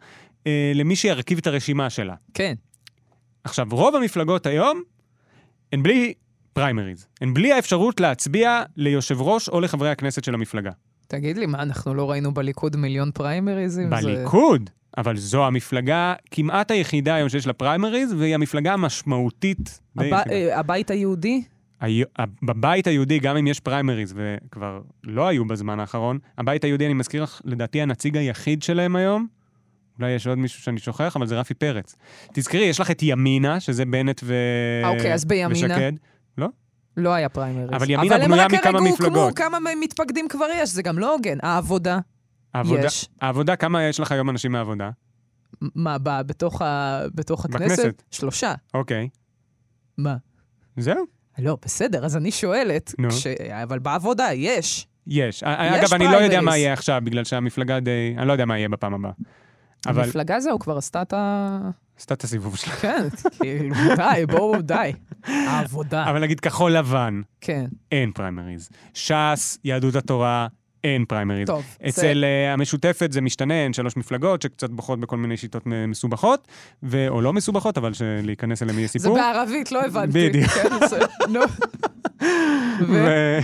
[SPEAKER 2] אה, למי שירכיב את הרשימה שלה.
[SPEAKER 3] כן.
[SPEAKER 2] עכשיו, רוב המפלגות היום הן בלי פריימריז. הן בלי האפשרות להצביע ליושב ראש או לחברי הכנסת של המפלגה.
[SPEAKER 3] תגיד לי, מה, אנחנו לא ראינו בליכוד מיליון פריימריזים?
[SPEAKER 2] בליכוד, אבל זו המפלגה כמעט היחידה היום שיש לה פריימריז, והיא המפלגה המשמעותית. די
[SPEAKER 3] הב...
[SPEAKER 2] היחידה.
[SPEAKER 3] אה, הבית היהודי?
[SPEAKER 2] היו- בבית היהודי, גם אם יש פריימריז, וכבר לא היו בזמן האחרון, הבית היהודי, אני מזכיר לך, לדעתי הנציג היחיד שלהם היום, אולי יש עוד מישהו שאני שוכח, אבל זה רפי פרץ. תזכרי, יש לך את ימינה, שזה בנט ו...
[SPEAKER 3] אה, אוקיי, אז בימינה.
[SPEAKER 2] ושקד.
[SPEAKER 3] לא היה פריימריז.
[SPEAKER 2] אבל ימינה בנויה מכמה
[SPEAKER 3] אבל הם רק הרגעו
[SPEAKER 2] מפלגות.
[SPEAKER 3] כמו כמה מתפקדים כבר יש, זה גם לא הוגן. העבודה,
[SPEAKER 2] העבודה,
[SPEAKER 3] יש.
[SPEAKER 2] העבודה, כמה יש לך היום אנשים מהעבודה?
[SPEAKER 3] מה, בא, בתוך, ה... בתוך הכנסת?
[SPEAKER 2] בכנסת.
[SPEAKER 3] שלושה.
[SPEAKER 2] אוקיי.
[SPEAKER 3] מה?
[SPEAKER 2] זהו,
[SPEAKER 3] לא, בסדר, אז אני שואלת,
[SPEAKER 2] נו.
[SPEAKER 3] כש... אבל בעבודה יש.
[SPEAKER 2] יש.
[SPEAKER 3] יש
[SPEAKER 2] אגב, אני לא יודע מה
[SPEAKER 3] פריימריז.
[SPEAKER 2] יהיה עכשיו, בגלל שהמפלגה די... אני לא יודע מה יהיה בפעם הבאה.
[SPEAKER 3] אבל...
[SPEAKER 2] אבל
[SPEAKER 3] המפלגה הזו כבר עשתה את ה...
[SPEAKER 2] עשתה את הסיבוב שלה.
[SPEAKER 3] כן, כאילו, די, בואו, די. העבודה,
[SPEAKER 2] אבל נגיד כחול לבן,
[SPEAKER 3] כן.
[SPEAKER 2] אין פריימריז. ש"ס, יהדות התורה, אין פריימריז.
[SPEAKER 3] טוב,
[SPEAKER 2] אצל אה, המשותפת זה משתנה, הן שלוש מפלגות שקצת בוחרות בכל מיני שיטות מ- מסובכות, ו- או לא מסובכות, אבל שלהיכנס אליהן יהיה
[SPEAKER 3] זה, זה
[SPEAKER 2] סיפור.
[SPEAKER 3] בערבית, לא הבנתי.
[SPEAKER 2] בדיוק.
[SPEAKER 3] כן, זה- נו. ו...
[SPEAKER 2] ו-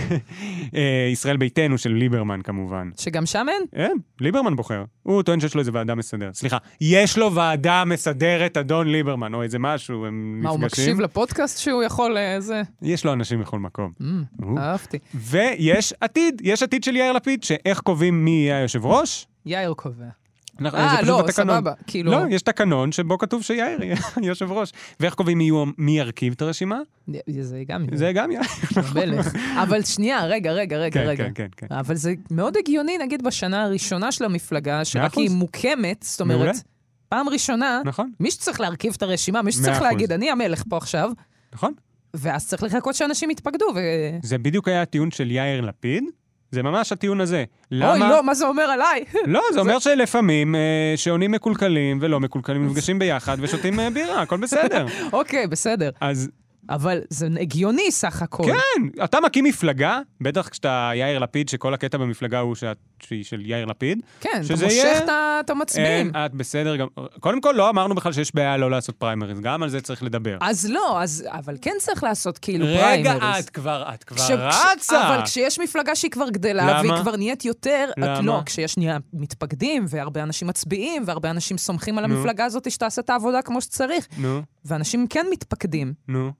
[SPEAKER 2] אה, ישראל ביתנו של ליברמן כמובן.
[SPEAKER 3] שגם שם אין?
[SPEAKER 2] אין, ליברמן בוחר. הוא טוען שיש לו איזה ועדה מסדרת. סליחה, יש לו ועדה מסדרת, אדון ליברמן, או איזה משהו, הם
[SPEAKER 3] מה, הוא
[SPEAKER 2] נפגשים.
[SPEAKER 3] מקשיב לפודקאסט שהוא יכול, אה, זה?
[SPEAKER 2] יש לו אנשים בכל מקום.
[SPEAKER 3] Mm,
[SPEAKER 2] הוא.
[SPEAKER 3] אהבתי.
[SPEAKER 2] ויש עתיד, יש עתיד של יאיר לפיד, שאיך קובעים מי יהיה היושב ראש?
[SPEAKER 3] יאיר קובע.
[SPEAKER 2] אנחנו- זה
[SPEAKER 3] אה,
[SPEAKER 2] פשוט
[SPEAKER 3] לא,
[SPEAKER 2] בתקנון.
[SPEAKER 3] סבבה. כאילו,
[SPEAKER 2] לא, יש תקנון שבו כתוב שיאיר יהיה יושב ראש. ואיך קובעים מי הוא- מי ירכיב את הרשימה?
[SPEAKER 3] זה גם
[SPEAKER 2] זה גם יאיר.
[SPEAKER 3] מלך. אבל שנייה, רגע, רגע, רגע,
[SPEAKER 2] כן,
[SPEAKER 3] רגע.
[SPEAKER 2] כן, כן, כן.
[SPEAKER 3] אבל זה מאוד הגיוני, נגיד, בשנה הראשונה של המפלגה,
[SPEAKER 2] מאה
[SPEAKER 3] שרק
[SPEAKER 2] אחוז.
[SPEAKER 3] היא מוקמת, זאת
[SPEAKER 2] מעולה.
[SPEAKER 3] אומרת, פעם ראשונה,
[SPEAKER 2] נכון,
[SPEAKER 3] מי שצריך להרכיב את הרשימה, מי
[SPEAKER 2] מאה
[SPEAKER 3] שצריך
[SPEAKER 2] אחוז.
[SPEAKER 3] להגיד, אני המלך פה עכשיו,
[SPEAKER 2] נכון.
[SPEAKER 3] ואז צריך לחכות שאנשים יתפקדו, ו...
[SPEAKER 2] זה בדיוק היה הטיעון של יאיר לפיד. זה ממש הטיעון הזה. למה...
[SPEAKER 3] אוי, לא, מה זה אומר עליי?
[SPEAKER 2] לא, זה אומר שלפעמים אה, שעונים מקולקלים ולא מקולקלים נפגשים ביחד ושותים אה, בירה, הכל בסדר.
[SPEAKER 3] אוקיי, בסדר.
[SPEAKER 2] אז
[SPEAKER 3] אבל זה הגיוני סך הכל.
[SPEAKER 2] כן, אתה מקים מפלגה, בטח כשאתה יאיר לפיד, שכל הקטע במפלגה הוא שאת- שהיא של יאיר לפיד.
[SPEAKER 3] כן, אתה
[SPEAKER 2] שזה
[SPEAKER 3] מושך
[SPEAKER 2] יהיה-
[SPEAKER 3] את ה- את המצביעים.
[SPEAKER 2] אה, את בסדר גם. קודם כל, לא אמרנו בכלל שיש בעיה לא לעשות פריימריז, גם על זה צריך לדבר.
[SPEAKER 3] אז לא, אז, אבל כן צריך לעשות כאילו פריימריז.
[SPEAKER 2] רגע, אה, את כבר, את כבר
[SPEAKER 3] כש- כש-
[SPEAKER 2] רצה.
[SPEAKER 3] אבל כשיש מפלגה שהיא כבר גדלה,
[SPEAKER 2] למה?
[SPEAKER 3] והיא כבר נהיית יותר... את
[SPEAKER 2] למה?
[SPEAKER 3] לא, כשיש נהיה מתפקדים, והרבה אנשים מצביעים, והרבה אנשים סומכים על
[SPEAKER 2] נו.
[SPEAKER 3] המפלגה הזאת שתעשה את העבודה כמו שצריך.
[SPEAKER 2] נו,
[SPEAKER 3] ואנשים כן מתפקדים.
[SPEAKER 2] נו.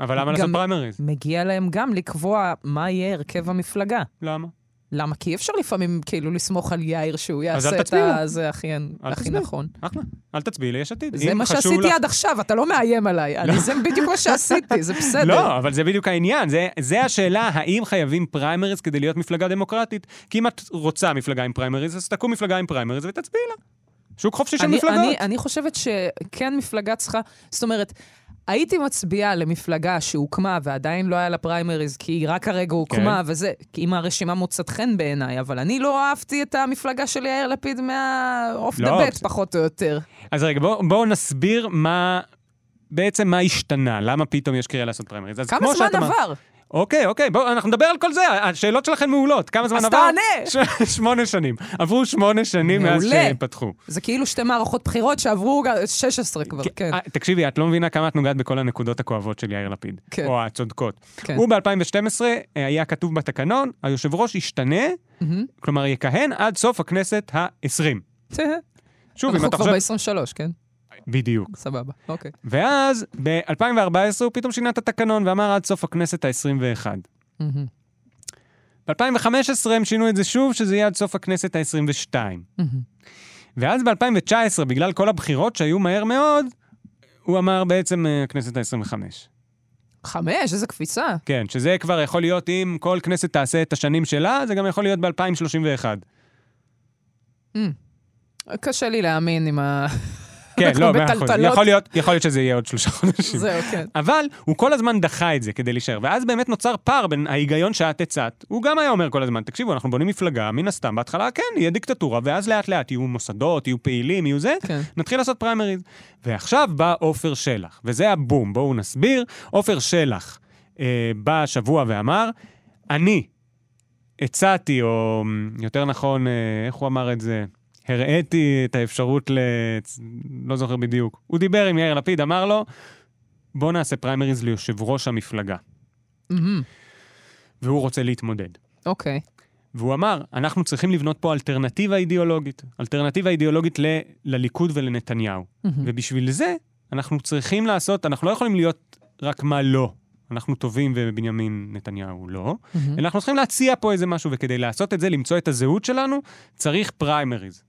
[SPEAKER 2] אבל למה
[SPEAKER 3] גם-
[SPEAKER 2] לעשות פריימריז?
[SPEAKER 3] מגיע להם גם לקבוע מה יהיה הרכב המפלגה.
[SPEAKER 2] למה?
[SPEAKER 3] למה? כי אי אפשר לפעמים כאילו לסמוך על יאיר שהוא
[SPEAKER 2] אז אל
[SPEAKER 3] יעשה את
[SPEAKER 2] תצביעו.
[SPEAKER 3] ה- זה הכי
[SPEAKER 2] אל
[SPEAKER 3] הכי
[SPEAKER 2] תצביעו.
[SPEAKER 3] נכון.
[SPEAKER 2] אחלה. אל תצביעי ליש עתיד.
[SPEAKER 3] זה
[SPEAKER 2] אם
[SPEAKER 3] מה
[SPEAKER 2] חשוב
[SPEAKER 3] שעשיתי
[SPEAKER 2] לך-
[SPEAKER 3] עד עכשיו, אתה לא מאיים עליי. אני- זה בדיוק מה שעשיתי, זה בסדר.
[SPEAKER 2] לא, אבל זה בדיוק העניין. זה, זה השאלה, האם חייבים פריימריז כדי להיות מפלגה דמוקרטית? כי אם את רוצה מפלגה עם פריימריז, אז תקום מפלגה עם פריימריז ותצביעי לה. שוק חופשי של
[SPEAKER 3] אני,
[SPEAKER 2] מפלגות.
[SPEAKER 3] אני, אני חושבת שכן מפלגה צריכה, זאת אומרת, הייתי מצביעה למפלגה שהוקמה ועדיין לא היה לה פריימריז, כי היא רק הרגע הוקמה
[SPEAKER 2] כן.
[SPEAKER 3] וזה, כי אם הרשימה מוצאת חן בעיניי, אבל אני לא אהבתי את המפלגה של יאיר לפיד מהאוף דה
[SPEAKER 2] לא,
[SPEAKER 3] בט,
[SPEAKER 2] זה-
[SPEAKER 3] פחות או יותר.
[SPEAKER 2] אז רגע, בואו בוא נסביר מה... בעצם מה השתנה, למה פתאום יש קריאה לעשות פריימריז. אז
[SPEAKER 3] כמה
[SPEAKER 2] כמו
[SPEAKER 3] זמן
[SPEAKER 2] שאת אמרת-
[SPEAKER 3] עבר?
[SPEAKER 2] אוקיי, אוקיי, בואו, אנחנו נדבר על כל זה, השאלות שלכם מעולות. כמה זמן
[SPEAKER 3] אז
[SPEAKER 2] עבר?
[SPEAKER 3] תענה!
[SPEAKER 2] ש... שמונה שנים. עברו שמונה שנים מאז
[SPEAKER 3] מעולה.
[SPEAKER 2] שפתחו.
[SPEAKER 3] זה כאילו שתי מערכות בחירות שעברו גם- 16 כבר, כן.
[SPEAKER 2] אה, תקשיבי, את לא מבינה כמה את נוגעת בכל הנקודות הכואבות של יאיר לפיד.
[SPEAKER 3] כן.
[SPEAKER 2] או הצודקות.
[SPEAKER 3] כן.
[SPEAKER 2] הוא ב-2012 אה, היה כתוב בתקנון, היושב ראש ישתנה,
[SPEAKER 3] מהמם.
[SPEAKER 2] כלומר יכהן עד סוף הכנסת ה-20. שוב, אם
[SPEAKER 3] אנחנו
[SPEAKER 2] אתה
[SPEAKER 3] כבר
[SPEAKER 2] חושב...
[SPEAKER 3] ב-23, כן?
[SPEAKER 2] בדיוק.
[SPEAKER 3] סבבה, אוקיי.
[SPEAKER 2] ואז, ב-2014 הוא פתאום שינה את התקנון ואמר עד סוף הכנסת ה-21.
[SPEAKER 3] מהמם.
[SPEAKER 2] ב-2015 הם שינו את זה שוב, שזה יהיה עד סוף הכנסת ה-22. ואז ב-2019, בגלל כל הבחירות שהיו מהר מאוד, הוא אמר בעצם אה, הכנסת ה-25.
[SPEAKER 3] חמש, איזה קפיצה.
[SPEAKER 2] כן, שזה כבר יכול להיות, אם כל כנסת תעשה את השנים שלה, זה גם יכול להיות ב-2031.
[SPEAKER 3] קשה לי להאמין עם ה...
[SPEAKER 2] כן,
[SPEAKER 3] אנחנו
[SPEAKER 2] לא, מאה אחוז.
[SPEAKER 3] בטלטלות.
[SPEAKER 2] יכול להיות, יכול להיות שזה יהיה עוד שלושה חודשים.
[SPEAKER 3] זהו, כן.
[SPEAKER 2] אבל הוא כל הזמן דחה את זה כדי להישאר, ואז באמת נוצר פער בין ההיגיון שאת הצעת, הוא גם היה אומר כל הזמן, תקשיבו, אנחנו בונים מפלגה, מן הסתם, בהתחלה כן, יהיה דיקטטורה, ואז לאט לאט יהיו מוסדות, יהיו פעילים, יהיו זה,
[SPEAKER 3] כן.
[SPEAKER 2] נתחיל לעשות פריימריז. ועכשיו בא עופר שלח, וזה הבום, בואו נסביר. עופר שלח אה, בא השבוע ואמר, אני הצעתי, או מ, יותר נכון, אה, איך הוא אמר את זה? הראיתי את האפשרות ל... לא זוכר בדיוק. הוא דיבר עם יאיר לפיד, אמר לו, בוא נעשה פריימריז ליושב ראש המפלגה.
[SPEAKER 3] מהמם.
[SPEAKER 2] והוא רוצה להתמודד.
[SPEAKER 3] אוקיי.
[SPEAKER 2] והוא אמר, אנחנו צריכים לבנות פה אלטרנטיבה אידיאולוגית. אלטרנטיבה אידיאולוגית ל- לליכוד ולנתניהו.
[SPEAKER 3] Mm-hmm.
[SPEAKER 2] ובשביל זה אנחנו צריכים לעשות, אנחנו לא יכולים להיות רק מה לא. אנחנו טובים ובנימין נתניהו לא.
[SPEAKER 3] מהמם.
[SPEAKER 2] אנחנו צריכים להציע פה איזה משהו, וכדי לעשות את זה, למצוא את הזהות שלנו, צריך פריימריז.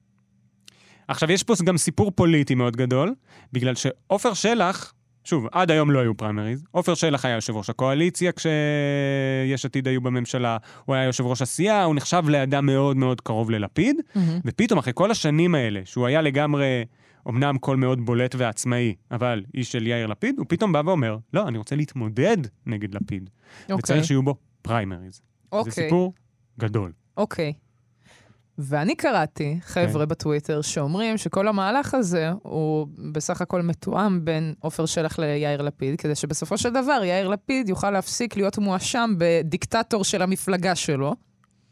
[SPEAKER 2] עכשיו, יש פה גם סיפור פוליטי מאוד גדול, בגלל שעופר שלח, שוב, עד היום לא היו פריימריז, עופר שלח היה יושב ראש הקואליציה כשיש עתיד היו בממשלה, הוא היה יושב ראש הסיעה, הוא נחשב לאדם מאוד מאוד קרוב ללפיד,
[SPEAKER 3] מהמם.
[SPEAKER 2] ופתאום, אחרי כל השנים האלה, שהוא היה לגמרי, אמנם קול מאוד בולט ועצמאי, אבל איש של יאיר לפיד, הוא פתאום בא ואומר, לא, אני רוצה להתמודד נגד לפיד,
[SPEAKER 3] אוקיי.
[SPEAKER 2] וצריך שיהיו בו פריימריז. זה
[SPEAKER 3] אוקיי.
[SPEAKER 2] סיפור גדול.
[SPEAKER 3] אוקיי. ואני קראתי חבר'ה
[SPEAKER 2] כן.
[SPEAKER 3] בטוויטר שאומרים שכל המהלך הזה הוא בסך הכל מתואם בין עופר שלח ליאיר לפיד, כדי שבסופו של דבר יאיר לפיד יוכל להפסיק להיות מואשם בדיקטטור של המפלגה שלו,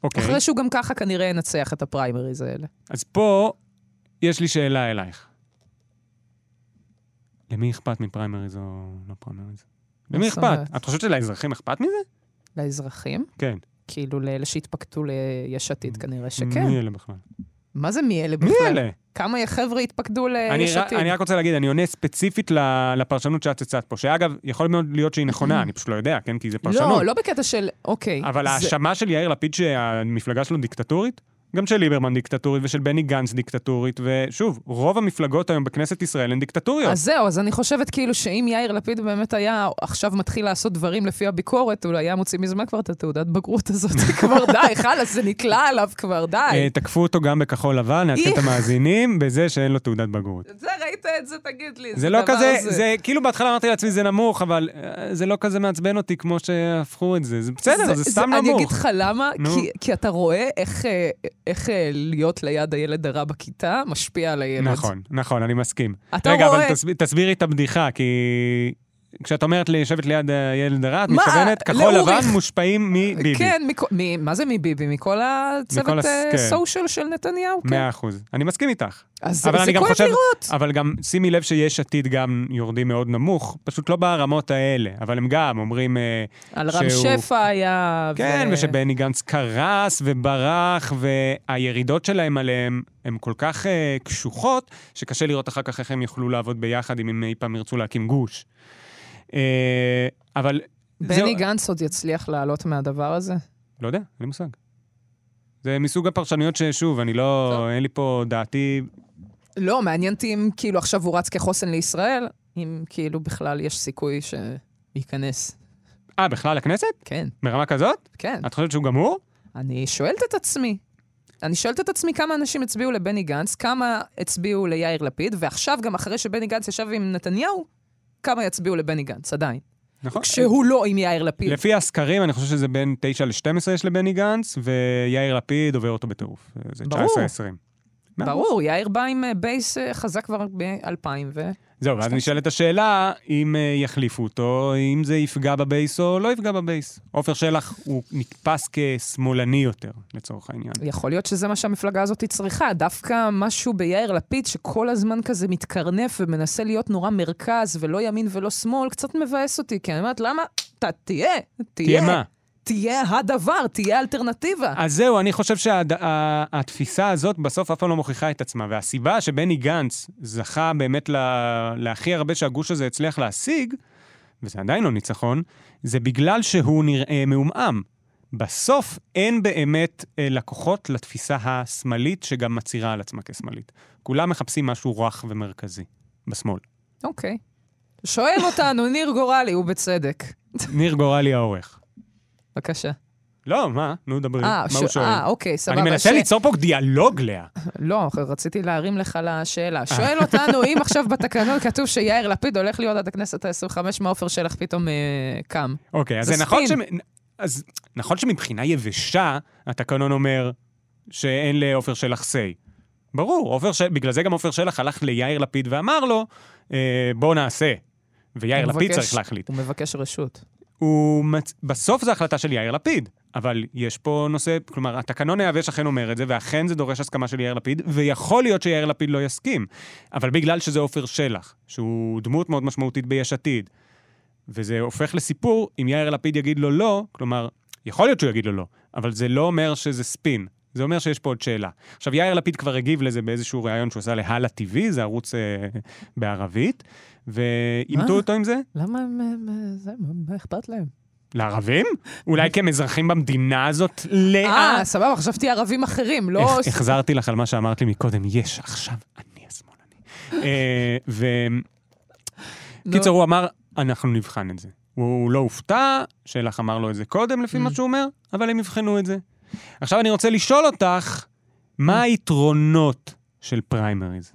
[SPEAKER 2] אוקיי,
[SPEAKER 3] אחרי שהוא גם ככה כנראה ינצח את הפריימריז האלה.
[SPEAKER 2] אז פה יש לי שאלה אלייך. למי אכפת מפריימריז או לא פריימריז? למי
[SPEAKER 3] מה זאת
[SPEAKER 2] אכפת?
[SPEAKER 3] אומרת?
[SPEAKER 2] את חושבת שלאזרחים אכפת מזה?
[SPEAKER 3] לאזרחים,
[SPEAKER 2] כן.
[SPEAKER 3] כאילו לאלה שהתפקדו ליש עתיד כנראה שכן.
[SPEAKER 2] מי אלה בכלל?
[SPEAKER 3] מה זה מי אלה
[SPEAKER 2] מי
[SPEAKER 3] בכלל?
[SPEAKER 2] אלה?
[SPEAKER 3] כמה חבר'ה התפקדו
[SPEAKER 2] אני
[SPEAKER 3] ליש
[SPEAKER 2] ר-
[SPEAKER 3] אה, עתיד?
[SPEAKER 2] אני רק רוצה להגיד, אני עונה ספציפית ל- לפרשנות שאת הצעת פה, שאגב, יכול מאוד להיות שהיא נכונה, אני פשוט לא יודע, כן? כי זה פרשנות.
[SPEAKER 3] Mm-hmm. לא, לא בקטע של, אוקיי.
[SPEAKER 2] אבל
[SPEAKER 3] זה-
[SPEAKER 2] ההאשמה של יאיר לפיד שהמפלגה שלו דיקטטורית, גם של ליברמן דיקטטורית ושל בני גנץ דיקטטורית, ושוב, רוב המפלגות היום בכנסת ישראל הן דיקטטוריות.
[SPEAKER 3] אז זהו, אז אני חושבת כאילו שאם יאיר לפיד באמת היה עכשיו מתחיל לעשות דברים לפי הביקורת, הוא לא היה מוציא מזמן כבר את התעודת בגרות הזאת. כבר די, חלאס, זה נקלע עליו כבר,
[SPEAKER 2] אה,
[SPEAKER 3] די.
[SPEAKER 2] תקפו אותו גם בכחול לבן, נעדכן את
[SPEAKER 3] איך?
[SPEAKER 2] המאזינים, בזה שאין לו תעודת בגרות.
[SPEAKER 3] את זה ראית את זה, תגיד לי.
[SPEAKER 2] זה לא
[SPEAKER 3] דבר
[SPEAKER 2] כזה,
[SPEAKER 3] הזה.
[SPEAKER 2] זה כאילו בהתחלה אמרתי לעצמי זה נמוך, אבל אה, זה לא כזה מעצבן אותי כמו שהפכו את זה. זה בסדר, זה סתם
[SPEAKER 3] אני אגיד
[SPEAKER 2] נמוך.
[SPEAKER 3] לך למה,
[SPEAKER 2] נו.
[SPEAKER 3] כי- כי אתה רואה איך, אה, איך אה, להיות ליד הילד הרע בכיתה משפיע על הילד.
[SPEAKER 2] נכון, נכון, אני מסכים.
[SPEAKER 3] אתה
[SPEAKER 2] רגע,
[SPEAKER 3] רואה-
[SPEAKER 2] אבל תסב- תסבירי את הבדיחה, כי כשאת אומרת לי יושבת ליד הילד הרע, את
[SPEAKER 3] מה?
[SPEAKER 2] מתכוונת, כחול
[SPEAKER 3] לאוריך.
[SPEAKER 2] לבן מושפעים מביבי.
[SPEAKER 3] כן, מכו, מ, מה זה מביבי? מכל
[SPEAKER 2] מכל
[SPEAKER 3] הצוות
[SPEAKER 2] הס-
[SPEAKER 3] אה,
[SPEAKER 2] כן.
[SPEAKER 3] סושיאל של נתניהו? כן.
[SPEAKER 2] מאה אחוז. אני מסכים איתך.
[SPEAKER 3] אז
[SPEAKER 2] אבל
[SPEAKER 3] זה
[SPEAKER 2] אני גם
[SPEAKER 3] כואב
[SPEAKER 2] חושב-
[SPEAKER 3] לראות.
[SPEAKER 2] אבל גם שימי לב שיש עתיד גם יורדים מאוד נמוך, פשוט לא ברמות האלה, אבל הם גם אומרים... אה,
[SPEAKER 3] על רם
[SPEAKER 2] שהוא-
[SPEAKER 3] שפע היה...
[SPEAKER 2] כן,
[SPEAKER 3] ו-
[SPEAKER 2] ושבני גנץ קרס וברח, והירידות שלהם עליהם הן כל כך uh, קשוחות, שקשה לראות אחר כך איך הם יוכלו לעבוד ביחד, אם הם אי פעם ירצו להקים גוש. Uh, אבל...
[SPEAKER 3] בני גנץ עוד יצליח לעלות מהדבר הזה?
[SPEAKER 2] לא יודע, אין לי מושג. זה מסוג הפרשנויות ששוב, אני לא... אין לי פה דעתי...
[SPEAKER 3] לא, מעניין אותי אם כאילו עכשיו הוא רץ כחוסן לישראל, אם כאילו בכלל יש סיכוי שייכנס.
[SPEAKER 2] אה, בכלל לכנסת?
[SPEAKER 3] כן,
[SPEAKER 2] ברמה כזאת?
[SPEAKER 3] כן.
[SPEAKER 2] את חושבת שהוא גמור?
[SPEAKER 3] אני שואלת את עצמי. אני שואלת את עצמי כמה אנשים הצביעו לבני גנץ, כמה הצביעו ליאיר לפיד, ועכשיו, גם אחרי שבני גנץ ישב עם נתניהו, כמה יצביעו לבני גנץ, עדיין.
[SPEAKER 2] נכון.
[SPEAKER 3] כשהוא לא עם יאיר לפיד.
[SPEAKER 2] לפי הסקרים, אני חושב שזה בין 9 ל-12 יש לבני גנץ, ויאיר לפיד עובר אותו בטירוף. זה
[SPEAKER 3] ברור.
[SPEAKER 2] 19-20.
[SPEAKER 3] ברור, יאיר בא עם אה, בייס אה, חזק כבר ב-2000 ו...
[SPEAKER 2] זהו, ואז נשאלת השאלה אם אה, יחליפו אותו, אם זה יפגע בבייס או לא יפגע בבייס. עופר שלח הוא נתפס כשמאלני יותר, לצורך העניין.
[SPEAKER 3] יכול להיות שזה מה שהמפלגה הזאת היא צריכה, דווקא משהו ביאיר לפיד שכל הזמן כזה מתקרנף ומנסה להיות נורא מרכז ולא ימין ולא שמאל, קצת מבאס אותי, כי אני אומרת, למה? אתה תהיה, תהיה.
[SPEAKER 2] תהיה מה?
[SPEAKER 3] תהיה הדבר, תהיה אלטרנטיבה.
[SPEAKER 2] אז זהו, אני חושב שהתפיסה הזאת בסוף אף פעם לא מוכיחה את עצמה. והסיבה שבני גנץ זכה באמת ל- להכי הרבה שהגוש הזה הצליח להשיג, וזה עדיין לא ניצחון, זה בגלל שהוא נראה מעומעם. בסוף אין באמת אה, לקוחות לתפיסה השמאלית, שגם מצהירה על עצמה כשמאלית. כולם מחפשים משהו רך ומרכזי, בשמאל.
[SPEAKER 3] אוקיי. שואל אותנו ניר גורלי, הוא בצדק.
[SPEAKER 2] ניר גורלי העורך.
[SPEAKER 3] בבקשה.
[SPEAKER 2] לא, מה? נו, דברי.
[SPEAKER 3] אה,
[SPEAKER 2] מה
[SPEAKER 3] ש-
[SPEAKER 2] הוא שואל?
[SPEAKER 3] אה, אוקיי, סבבה.
[SPEAKER 2] אני מנסה
[SPEAKER 3] ש-
[SPEAKER 2] ליצור פה דיאלוג, לאה.
[SPEAKER 3] לא, רציתי להרים לך לשאלה.
[SPEAKER 2] אה.
[SPEAKER 3] שואל אותנו אם עכשיו בתקנון כתוב שיאיר לפיד הולך להיות עד הכנסת ה-25, מה עופר שלח פתאום אה, קם.
[SPEAKER 2] אוקיי, אז
[SPEAKER 3] זה
[SPEAKER 2] זה נכון ש...
[SPEAKER 3] ספין.
[SPEAKER 2] אז נכון שמבחינה יבשה, התקנון אומר שאין לעופר שלח say. ברור, עופר ש... בגלל זה גם עופר שלח הלך ליאיר לפיד ואמר לו, אה, בוא נעשה. ויאיר
[SPEAKER 3] הוא
[SPEAKER 2] לפיד
[SPEAKER 3] מבקש-
[SPEAKER 2] צריך להחליט.
[SPEAKER 3] הוא מבקש רשות.
[SPEAKER 2] הוא מצ... בסוף זו החלטה של יאיר לפיד, אבל יש פה נושא, כלומר, התקנון היבש אכן אומר את זה, ואכן זה דורש הסכמה של יאיר לפיד, ויכול להיות שיאיר לפיד לא יסכים. אבל בגלל שזה עופר שלח, שהוא דמות מאוד משמעותית ביש עתיד, וזה הופך לסיפור, אם יאיר לפיד יגיד לו לא, כלומר, יכול להיות שהוא יגיד לו לא, אבל זה לא אומר שזה ספין. זה אומר שיש פה עוד שאלה. עכשיו, יאיר לפיד כבר הגיב לזה באיזשהו ריאיון שהוא עשה להלא TV, זה ערוץ אה, בערבית,
[SPEAKER 3] מה?
[SPEAKER 2] ואימתו אותו עם זה.
[SPEAKER 3] למה הם... הם, אה, זה, מה- מה אכפת להם?
[SPEAKER 2] לערבים? אולי כי הם אזרחים במדינה הזאת? לאה.
[SPEAKER 3] אה, סבבה, חשבתי ערבים אחרים, לא...
[SPEAKER 2] הח- החזרתי לך על מה שאמרת לי מקודם, יש, עכשיו אני השמאלני. אה,
[SPEAKER 3] לא.
[SPEAKER 2] ו-
[SPEAKER 3] נו.
[SPEAKER 2] קיצר, הוא אמר, אנחנו נבחן את זה. הוא לא הופתע, שלך אמר לו את זה קודם, לפי
[SPEAKER 3] Mm.
[SPEAKER 2] מה שהוא אומר, אבל הם יבחנו את זה. עכשיו אני רוצה לשאול אותך, מה היתרונות של פריימריז?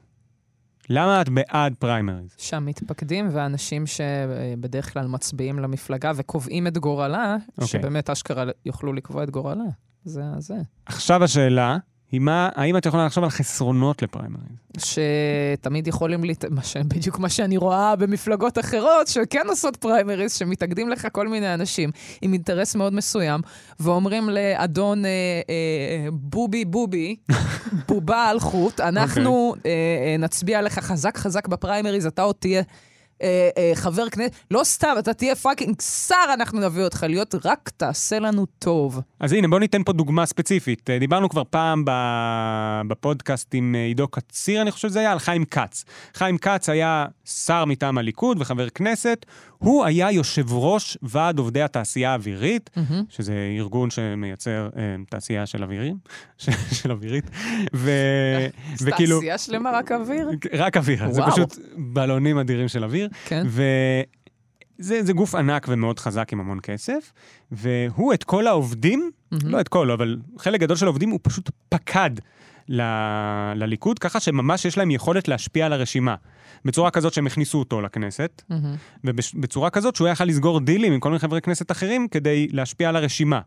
[SPEAKER 2] למה את בעד פריימריז?
[SPEAKER 3] שהמתפקדים והאנשים שבדרך כלל מצביעים למפלגה וקובעים את גורלה,
[SPEAKER 2] אוקיי.
[SPEAKER 3] שבאמת אשכרה יוכלו לקבוע את גורלה. זה זה.
[SPEAKER 2] עכשיו השאלה היא מה, האם את יכולה לחשוב על חסרונות לפריימריז?
[SPEAKER 3] שתמיד יכולים, להת... מה ש... בדיוק מה שאני רואה במפלגות אחרות, שכן עושות פריימריז, שמתאגדים לך כל מיני אנשים עם אינטרס מאוד מסוים, ואומרים לאדון אה, אה, בובי בובי, בובה על חוט, אנחנו
[SPEAKER 2] אוקיי.
[SPEAKER 3] אה, אה, נצביע לך חזק חזק בפריימריז, אתה עוד תהיה... אה, אה, חבר כנסת, לא סתם, אתה תהיה פאקינג שר, אנחנו נביא אותך להיות, רק תעשה לנו טוב.
[SPEAKER 2] אז הנה, בואו ניתן פה דוגמה ספציפית. אה, דיברנו כבר פעם ב- בפודקאסט עם אה, עידו קציר, אני חושב שזה היה, על חיים כץ. חיים כץ היה שר מטעם הליכוד וחבר כנסת. הוא היה יושב ראש ועד עובדי התעשייה האווירית,
[SPEAKER 3] מהמם.
[SPEAKER 2] שזה ארגון שמייצר אה, תעשייה של אווירים, ש- של אווירית. ו...
[SPEAKER 3] אז
[SPEAKER 2] וכאילו...
[SPEAKER 3] תעשייה שלמה, רק אוויר.
[SPEAKER 2] רק אוויר, זה
[SPEAKER 3] וואו.
[SPEAKER 2] פשוט בלונים אדירים של אוויר.
[SPEAKER 3] כן.
[SPEAKER 2] וזה זה גוף ענק ומאוד חזק עם המון כסף, והוא את כל העובדים,
[SPEAKER 3] מהמם.
[SPEAKER 2] לא את כל, אבל חלק גדול של העובדים הוא פשוט פקד ל- לליכוד, ככה שממש יש להם יכולת להשפיע על הרשימה. בצורה כזאת שהם הכניסו אותו לכנסת,
[SPEAKER 3] מהמם.
[SPEAKER 2] ובצורה כזאת שהוא היה יכול לסגור דילים עם כל מיני חברי כנסת אחרים כדי להשפיע על הרשימה.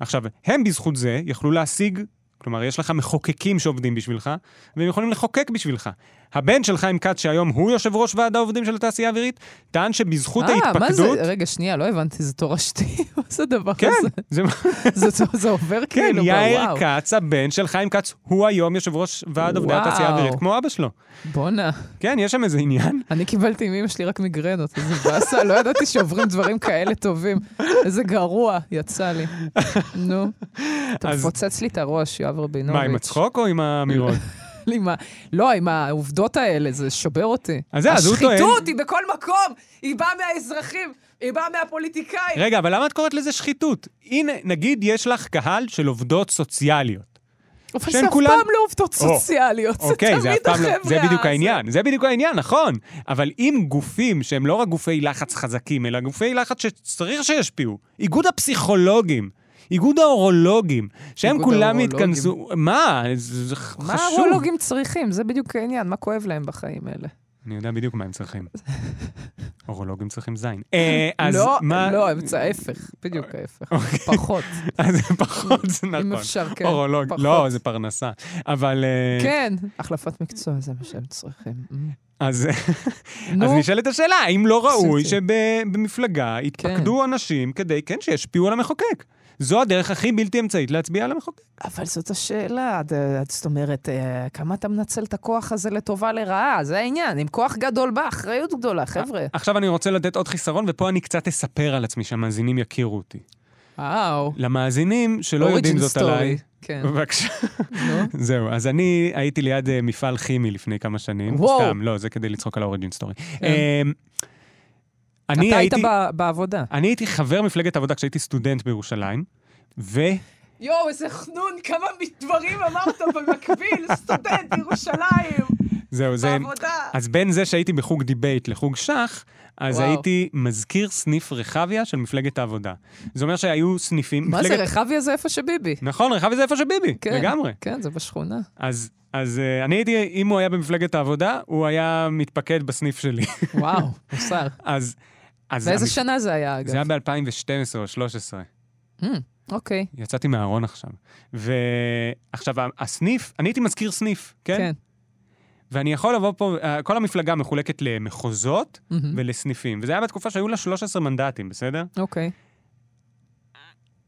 [SPEAKER 2] עכשיו, הם בזכות זה יכלו להשיג, כלומר, יש לך מחוקקים שעובדים בשבילך, והם יכולים לחוקק בשבילך. הבן של חיים כץ, שהיום הוא יושב ראש ועד העובדים של התעשייה האווירית, טען שבזכות
[SPEAKER 3] אה, מה זה?
[SPEAKER 2] ההתפקדות...
[SPEAKER 3] רגע, שנייה, לא הבנתי, זה תורשתי? מה זה הדבר
[SPEAKER 2] כן,
[SPEAKER 3] הזה?
[SPEAKER 2] זה...
[SPEAKER 3] זה- זה- זה עובר
[SPEAKER 2] כן,
[SPEAKER 3] כאילו,
[SPEAKER 2] יאיר
[SPEAKER 3] וואו.
[SPEAKER 2] כץ, הבן של חיים כץ, הוא היום יושב ראש ועד עובדי
[SPEAKER 3] וואו.
[SPEAKER 2] התעשייה האווירית, כמו אבא שלו.
[SPEAKER 3] בואנה,
[SPEAKER 2] כן, יש שם איזה עניין.
[SPEAKER 3] אני קיבלתי עם אמא שלי רק מיגרנות, איזה באסה, לא ידעתי שעוברים דברים כאלה טובים. איזה גרוע יצא לי. נו, אתה
[SPEAKER 2] אז-
[SPEAKER 3] מפוצץ לי את הראש, יואב רבינוביץ'.
[SPEAKER 2] מה, עם הצחוק או עם האמירות?
[SPEAKER 3] עם ה- לא, עם העובדות האלה, זה שובר אותי.
[SPEAKER 2] אז זה, אז הוא טוען-
[SPEAKER 3] השחיתות היא בכל מקום, היא באה מהאזרחים, היא באה מהפוליטיקאים.
[SPEAKER 2] רגע, אבל למה את קוראת לזה שחיתות? הנה, נגיד יש לך קהל של עובדות סוציאליות.
[SPEAKER 3] אבל
[SPEAKER 2] שהן
[SPEAKER 3] זה אף פעם
[SPEAKER 2] כולן-
[SPEAKER 3] לא עובדות
[SPEAKER 2] או,
[SPEAKER 3] סוציאליות, זה
[SPEAKER 2] אוקיי, זה אף
[SPEAKER 3] תמיד
[SPEAKER 2] פעם
[SPEAKER 3] החבר'ה.
[SPEAKER 2] לא... זה בדיוק
[SPEAKER 3] הזה.
[SPEAKER 2] העניין, זה בדיוק העניין, נכון. אבל אם גופים שהם לא רק גופי לחץ חזקים, אלא גופי לחץ שצריך שישפיעו, איגוד הפסיכולוגים, איגוד האורולוגים, שהם
[SPEAKER 3] איגוד
[SPEAKER 2] כולם
[SPEAKER 3] האורולוגים.
[SPEAKER 2] יתכנסו... מה? זה זה חשוב.
[SPEAKER 3] מה הרולוגים צריכים? זה בדיוק העניין, מה כואב להם בחיים האלה.
[SPEAKER 2] אני יודע בדיוק מה הם צריכים. אורולוגים צריכים זין. אה, אז
[SPEAKER 3] לא,
[SPEAKER 2] מה... אוקיי,
[SPEAKER 3] לא, אמצע ההפך, בדיוק ההפך. פחות,
[SPEAKER 2] אז פחות זה
[SPEAKER 3] אם
[SPEAKER 2] נכון.
[SPEAKER 3] אפשר, כן.
[SPEAKER 2] אורולוג,
[SPEAKER 3] פחות.
[SPEAKER 2] לא, זה פרנסה. אבל... אה,
[SPEAKER 3] כן, החלפת מקצוע זה מה שהם צריכים.
[SPEAKER 2] אז
[SPEAKER 3] נו,
[SPEAKER 2] אז נשאלת השאלה, האם לא ראוי
[SPEAKER 3] עשיתי.
[SPEAKER 2] שבמפלגה יתפקדו אנשים כדי, כן, שישפיעו על המחוקק? זו הדרך הכי בלתי אמצעית להצביע על המחוקק.
[SPEAKER 3] אבל זאת השאלה, ד- ד- זאת אומרת, אה, כמה אתה מנצל את הכוח הזה לטובה לרעה, זה העניין. עם כוח גדול בא אחריות גדולה, חבר'ה.
[SPEAKER 2] עכשיו אני רוצה לתת עוד חיסרון, ופה אני קצת אספר על עצמי, שהמאזינים יכירו אותי.
[SPEAKER 3] וואו.
[SPEAKER 2] למאזינים שלא אה, לא יודעים זאת עליי...
[SPEAKER 3] כן,
[SPEAKER 2] בבקשה.
[SPEAKER 3] נו.
[SPEAKER 2] זהו, אז אני הייתי ליד אה, מפעל כימי לפני כמה שנים.
[SPEAKER 3] וואו.
[SPEAKER 2] סתם, לא, זה כדי לצחוק על האוריג'ין סטורי.
[SPEAKER 3] כן.
[SPEAKER 2] אני
[SPEAKER 3] אתה היית
[SPEAKER 2] הייתי...
[SPEAKER 3] ב- בעבודה.
[SPEAKER 2] אני הייתי חבר מפלגת עבודה כשהייתי סטודנט בירושלים, ו...
[SPEAKER 3] יואו, איזה חנון, כמה דברים אמרת במקביל, סטודנט, ירושלים.
[SPEAKER 2] זהו, זה...
[SPEAKER 3] בעבודה.
[SPEAKER 2] אז בין זה שהייתי בחוג דיבייט לחוג שח, אז
[SPEAKER 3] וואו.
[SPEAKER 2] הייתי מזכיר סניף רחביה של מפלגת העבודה. זה אומר שהיו סניפים...
[SPEAKER 3] מה זה,
[SPEAKER 2] מפלגת-
[SPEAKER 3] רחביה זה איפה שביבי.
[SPEAKER 2] נכון, רחביה זה איפה שביבי,
[SPEAKER 3] כן,
[SPEAKER 2] לגמרי.
[SPEAKER 3] כן, זה בשכונה.
[SPEAKER 2] אז, אז אה, אני הייתי, אם הוא היה במפלגת העבודה, הוא היה מתפקד בסניף שלי.
[SPEAKER 3] וואו, מוסר.
[SPEAKER 2] אז... אז
[SPEAKER 3] באיזה
[SPEAKER 2] המפ-
[SPEAKER 3] שנה זה היה, אגב?
[SPEAKER 2] זה היה ב-2012 או 2013.
[SPEAKER 3] אוקיי,
[SPEAKER 2] יצאתי מהארון עכשיו. ועכשיו, ה- הסניף, אני הייתי מזכיר סניף, כן?
[SPEAKER 3] כן.
[SPEAKER 2] ואני יכול לבוא פה, אה, כל המפלגה מחולקת למחוזות
[SPEAKER 3] מהמם.
[SPEAKER 2] ולסניפים. וזה היה בתקופה שהיו לה 13 מנדטים, בסדר?
[SPEAKER 3] אוקיי.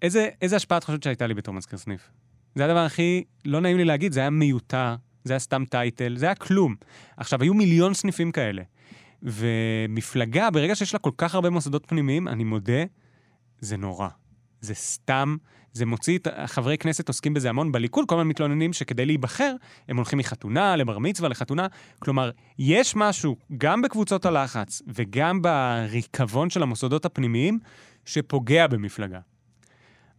[SPEAKER 2] איזה, איזה השפעה את חושבת שהייתה לי בתור מזכיר סניף? זה הדבר הכי לא נעים לי להגיד, זה היה מיותר, זה היה סתם טייטל, זה היה כלום. עכשיו, היו מיליון סניפים כאלה. ומפלגה, ברגע שיש לה כל כך הרבה מוסדות פנימיים, אני מודה, זה נורא. זה סתם, זה מוציא את... חברי כנסת עוסקים בזה המון בליכוד, כל הזמן מתלוננים שכדי להיבחר, הם הולכים מחתונה לבר מצווה לחתונה. כלומר, יש משהו, גם בקבוצות הלחץ וגם בריקבון של המוסדות הפנימיים, שפוגע במפלגה.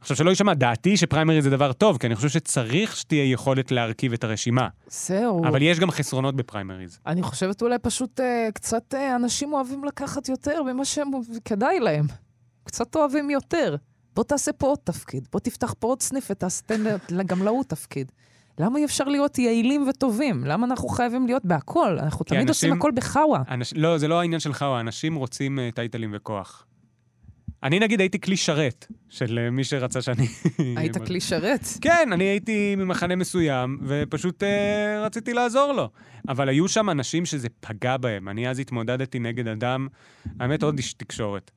[SPEAKER 2] עכשיו, שלא יישמע, דעתי שפריימריז זה דבר טוב, כי אני חושב שצריך שתהיה יכולת להרכיב את הרשימה.
[SPEAKER 3] זהו.
[SPEAKER 2] אבל יש גם חסרונות בפריימריז.
[SPEAKER 3] אני חושבת אולי פשוט אה, קצת אה, אנשים אוהבים לקחת יותר ממה שהם כדאי להם. קצת אוהבים יותר. בוא תעשה פה עוד תפקיד, בוא תפתח פה עוד סניף ותעשה תן ל- גם להוא תפקיד. למה אי אפשר להיות יעילים וטובים? למה אנחנו חייבים להיות בהכל? אנחנו תמיד עושים
[SPEAKER 2] אנשים-
[SPEAKER 3] הכל בחאווה.
[SPEAKER 2] אנש... לא, זה לא העניין שלך, או האנשים רוצים אה, טייטלים וכוח. אני נגיד הייתי כלי שרת של אה, מי שרצה שאני...
[SPEAKER 3] היית כלי שרת.
[SPEAKER 2] כן, אני הייתי ממחנה מסוים, ופשוט אה, רציתי לעזור לו. אבל היו שם אנשים שזה פגע בהם. אני אז התמודדתי נגד אדם, האמת, עוד איש תקשורת.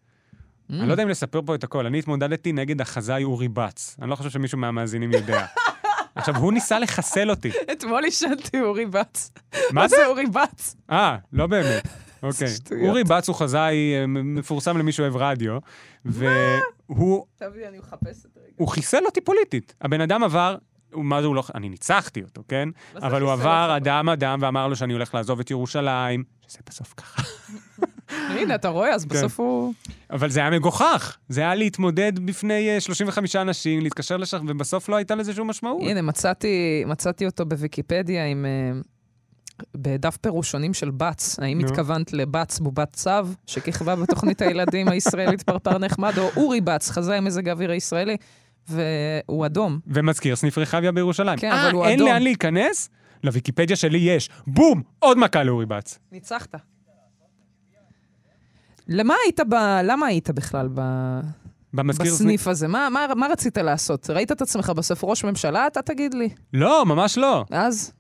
[SPEAKER 3] Mm.
[SPEAKER 2] אני לא יודע אם לספר פה את הכל, אני התמודדתי נגד החזאי אורי בץ. אני לא חושב שמישהו מהמאזינים יודע. עכשיו, הוא ניסה לחסל אותי.
[SPEAKER 3] אתמול עישנתי אורי בץ.
[SPEAKER 2] מה זה?
[SPEAKER 3] אורי בץ?
[SPEAKER 2] אה, לא באמת. אוקיי.
[SPEAKER 3] שטויות.
[SPEAKER 2] אורי בץ הוא חזאי אה, מפורסם למי שאוהב רדיו, והוא
[SPEAKER 3] תביא, אני מחפשת רגע.
[SPEAKER 2] הוא חיסל אותי פוליטית. הבן אדם עבר, הוא- מה זה הוא לא... אני ניצחתי אותו, כן?
[SPEAKER 3] מה זה
[SPEAKER 2] אבל הוא
[SPEAKER 3] חיסל
[SPEAKER 2] עבר
[SPEAKER 3] אותך?
[SPEAKER 2] אדם-אדם ואמר לו שאני הולך לעזוב את ירושלים, שזה בסוף ככה.
[SPEAKER 3] הנה, אתה רואה,
[SPEAKER 2] כן.
[SPEAKER 3] אז בסוף הוא...
[SPEAKER 2] אבל זה היה מגוחך. זה היה להתמודד בפני אה, 35 אנשים, להתקשר לשם, ובסוף לא הייתה לזה שום משמעות.
[SPEAKER 3] הנה, מצאתי, מצאתי אותו בוויקיפדיה עם... אה, בדף פירושונים של בץ, האם
[SPEAKER 2] נו.
[SPEAKER 3] התכוונת לבץ בובת צו, שכיכבה בתוכנית הילדים הישראלית פרפר נחמד, או אורי בץ, חזאי מזג האוויר הישראלי, והוא אדום.
[SPEAKER 2] ומזכיר סניף רחביה בירושלים.
[SPEAKER 3] כן,
[SPEAKER 2] אה,
[SPEAKER 3] אבל הוא
[SPEAKER 2] אין
[SPEAKER 3] אדום.
[SPEAKER 2] לאן להיכנס? לוויקיפדיה שלי יש. בום! עוד מכה לאורי בץ.
[SPEAKER 3] ניצחת. למה היית ב... למה היית בכלל ב...
[SPEAKER 2] במזכיר סניף...
[SPEAKER 3] בסניף הזה? מה, מה, מה רצית לעשות? ראית את עצמך בסוף ראש ממשלה? אתה תגיד לי.
[SPEAKER 2] לא, ממש לא.
[SPEAKER 3] אז?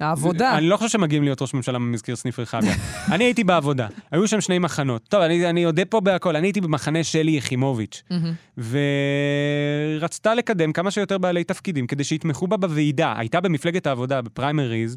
[SPEAKER 3] העבודה.
[SPEAKER 2] אני לא חושב שמגיעים להיות ראש ממשלה ממזכיר סניף רחביה. אני הייתי בעבודה, היו שם שני מחנות. טוב, אני, אני אודה פה בהכל, אני הייתי במחנה שלי יחימוביץ',
[SPEAKER 3] מהמם.
[SPEAKER 2] ורצתה לקדם כמה שיותר בעלי תפקידים כדי שיתמכו בה בוועידה. הייתה במפלגת העבודה, בפריימריז,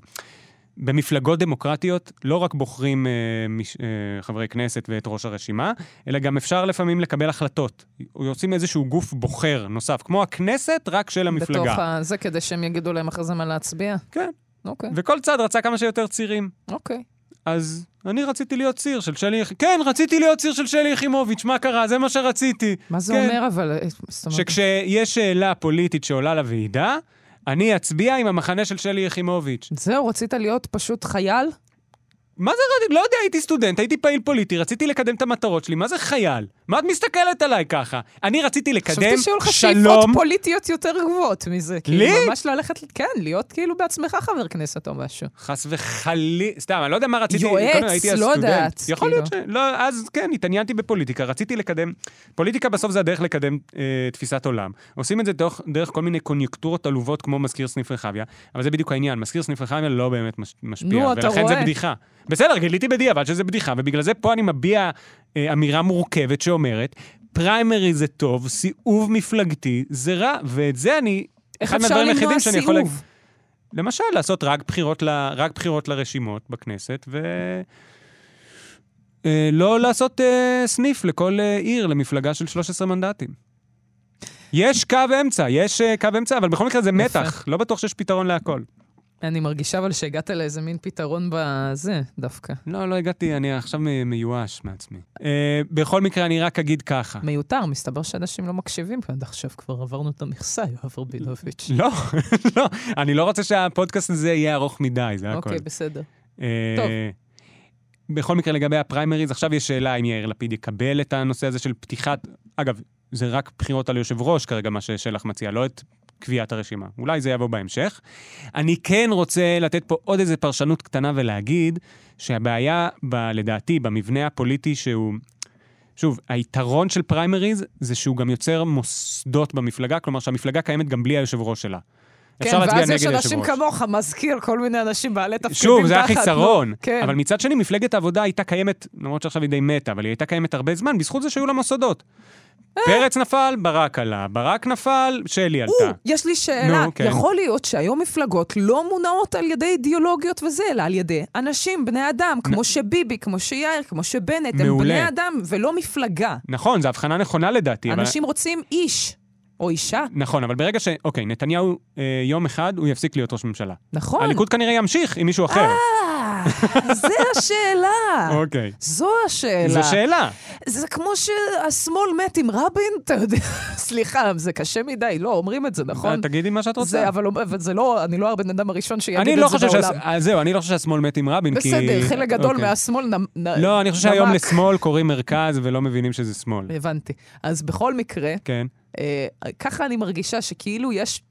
[SPEAKER 2] במפלגות דמוקרטיות לא רק בוחרים אה, מש, אה, חברי כנסת ואת ראש הרשימה, אלא גם אפשר לפעמים לקבל החלטות. עושים איזשהו גוף בוחר נוסף, כמו הכנסת, רק של המפלגה.
[SPEAKER 3] בתוך ה... זה כדי שהם יגידו להם אחרי זה מה להצביע?
[SPEAKER 2] כן.
[SPEAKER 3] אוקיי,
[SPEAKER 2] וכל צד רצה כמה שיותר צירים.
[SPEAKER 3] אוקיי.
[SPEAKER 2] אז אני רציתי להיות ציר של שלי... יח- כן, רציתי להיות ציר של שלי יחימוביץ', מה קרה? זה מה שרציתי.
[SPEAKER 3] מה זה
[SPEAKER 2] כן.
[SPEAKER 3] אומר אבל? אה, זאת אומרת,
[SPEAKER 2] שכשיש שאלה פוליטית שעולה לוועידה, אני אצביע עם המחנה של שלי יחימוביץ'.
[SPEAKER 3] זהו, רצית להיות פשוט חייל?
[SPEAKER 2] מה זה רציתי? לא יודע, הייתי סטודנט, הייתי פעיל פוליטי, רציתי לקדם את המטרות שלי, מה זה חייל? מה את מסתכלת עליי ככה? אני רציתי לקדם
[SPEAKER 3] חשבתי שיהיו לך שאיפות
[SPEAKER 2] שלום.
[SPEAKER 3] פוליטיות יותר גבוהות מזה. כאילו,
[SPEAKER 2] לי?
[SPEAKER 3] ממש ללכת, כן, להיות כאילו בעצמך חבר כנסת או משהו.
[SPEAKER 2] חס וחלילה, סתם, אני לא יודע מה רציתי,
[SPEAKER 3] יועץ,
[SPEAKER 2] קודם הייתי אז
[SPEAKER 3] לא
[SPEAKER 2] סטודנט.
[SPEAKER 3] יודעת,
[SPEAKER 2] יכול להיות ש...
[SPEAKER 3] כאילו.
[SPEAKER 2] לא, אז כן, התעניינתי בפוליטיקה, רציתי לקדם, פוליטיקה בסוף זה הדרך לקדם אה, תפיסת עולם. עושים את זה דרך, דרך כל מיני קוניונקטורות עלובות כמו מזכיר סניף רחביה, אבל זה בדיוק העניין, מזכיר סניף רחביה לא באמת מש, משפיע,
[SPEAKER 3] נו, אתה
[SPEAKER 2] ולכן זה
[SPEAKER 3] רואה.
[SPEAKER 2] בדיחה. בסדר, גיליתי בדיעבד שזה בדיחה, ובגלל זה פה אני מביע אה, אמירה מורכבת שאומרת, פריימרי זה טוב, סיאוב מפלגתי זה רע, ואת זה אני...
[SPEAKER 3] איך
[SPEAKER 2] אחד
[SPEAKER 3] אפשר
[SPEAKER 2] מהדברים
[SPEAKER 3] למנוע
[SPEAKER 2] היחידים שאני יכול
[SPEAKER 3] סיאוב?
[SPEAKER 2] למשל, לעשות רק בחירות, ל, רק בחירות לרשימות בכנסת, ו... אה, לא לעשות אה, סניף לכל אה, עיר, למפלגה של 13 מנדטים. יש קו אמצע, יש אה, קו אמצע, אבל בכל מקרה זה מתח, לא בטוח שיש פתרון להכל.
[SPEAKER 3] אני מרגישה אבל שהגעת לאיזה מין פתרון בזה דווקא.
[SPEAKER 2] לא, לא הגעתי, אני עכשיו מ- מיואש מעצמי. אה, בכל מקרה, אני רק אגיד ככה.
[SPEAKER 3] מיותר, מסתבר שאנשים לא מקשיבים, כי עד עכשיו כבר עברנו את המכסה, יואב רבינוביץ'.
[SPEAKER 2] לא, לא, אני לא רוצה שהפודקאסט הזה יהיה ארוך מדי, זה הכול.
[SPEAKER 3] אוקיי, בסדר.
[SPEAKER 2] אה,
[SPEAKER 3] טוב.
[SPEAKER 2] בכל מקרה, לגבי הפריימריז, עכשיו יש שאלה אם יאיר לפיד יקבל את הנושא הזה של פתיחת... אגב, זה רק בחירות על יושב ראש כרגע, מה ששלח מציע, לא את קביעת הרשימה. אולי זה יבוא בהמשך. אני כן רוצה לתת פה עוד איזה פרשנות קטנה ולהגיד שהבעיה, ב, לדעתי, במבנה הפוליטי שהוא... שוב, היתרון של פריימריז זה שהוא גם יוצר מוסדות במפלגה, כלומר שהמפלגה קיימת גם בלי היושב ראש שלה.
[SPEAKER 3] כן,
[SPEAKER 2] אפשר להצביע
[SPEAKER 3] ואז יש
[SPEAKER 2] נגד
[SPEAKER 3] אנשים
[SPEAKER 2] היושב-ראש.
[SPEAKER 3] כמוך, מזכיר כל מיני אנשים בעלי תפקידים תחת.
[SPEAKER 2] שוב, זה
[SPEAKER 3] נו.
[SPEAKER 2] החיסרון.
[SPEAKER 3] כן.
[SPEAKER 2] אבל מצד שני, מפלגת העבודה הייתה קיימת, למרות שעכשיו היא די מתה, אבל היא הייתה קיימת הרבה זמן, בזכות זה שהיו לה מוסדות.
[SPEAKER 3] אה.
[SPEAKER 2] פרץ נפל, ברק עלה, ברק נפל, שלי
[SPEAKER 3] או,
[SPEAKER 2] עלתה.
[SPEAKER 3] יש לי שאלה.
[SPEAKER 2] אה. נו, כן.
[SPEAKER 3] יכול להיות שהיום מפלגות לא מונעות על ידי אידיאולוגיות וזה, אלא על ידי אנשים, בני אדם, כמו שביבי, כמו שיאיר, כמו שבנט, הם
[SPEAKER 2] מעולה.
[SPEAKER 3] בני אדם ולא מפלגה.
[SPEAKER 2] נכון, זו הבחנה נכונה לדעתי, אבל...
[SPEAKER 3] אנשים רוצים איש או אישה,
[SPEAKER 2] נכון, אבל ברגע ש... אוקיי, נתניהו, אה, יום אחד הוא יפסיק להיות ראש ממשלה.
[SPEAKER 3] נכון?
[SPEAKER 2] הליכוד כנראה ימשיך עם מישהו אחר.
[SPEAKER 3] אה, זה השאלה.
[SPEAKER 2] אוקיי.
[SPEAKER 3] זו השאלה.
[SPEAKER 2] זו שאלה.
[SPEAKER 3] זה כמו שהשמאל מת עם רבין, אתה יודע, סליחה, זה קשה מדי, לא אומרים את זה, נכון?
[SPEAKER 2] אה, תגידי מה שאת
[SPEAKER 3] זה,
[SPEAKER 2] רוצה.
[SPEAKER 3] אבל, אבל זה לא, אני לא הבן אדם הראשון שיגיד
[SPEAKER 2] לא אני
[SPEAKER 3] את
[SPEAKER 2] לא
[SPEAKER 3] זה
[SPEAKER 2] חושב
[SPEAKER 3] בעולם.
[SPEAKER 2] שהש- אה, זהו, אני לא חושב שהשמאל מת עם רבין, כי...
[SPEAKER 3] בסדר, חלק גדול
[SPEAKER 2] אוקיי.
[SPEAKER 3] מהשמאל נ... נ-
[SPEAKER 2] לא, אני חושב שהיום
[SPEAKER 3] נמק.
[SPEAKER 2] לשמאל קוראים מרכז ולא מבינים שזה שמאל.
[SPEAKER 3] הבנתי. אז בכל מקרה,
[SPEAKER 2] כן.
[SPEAKER 3] אה, ככה אני מרגישה שכאילו יש...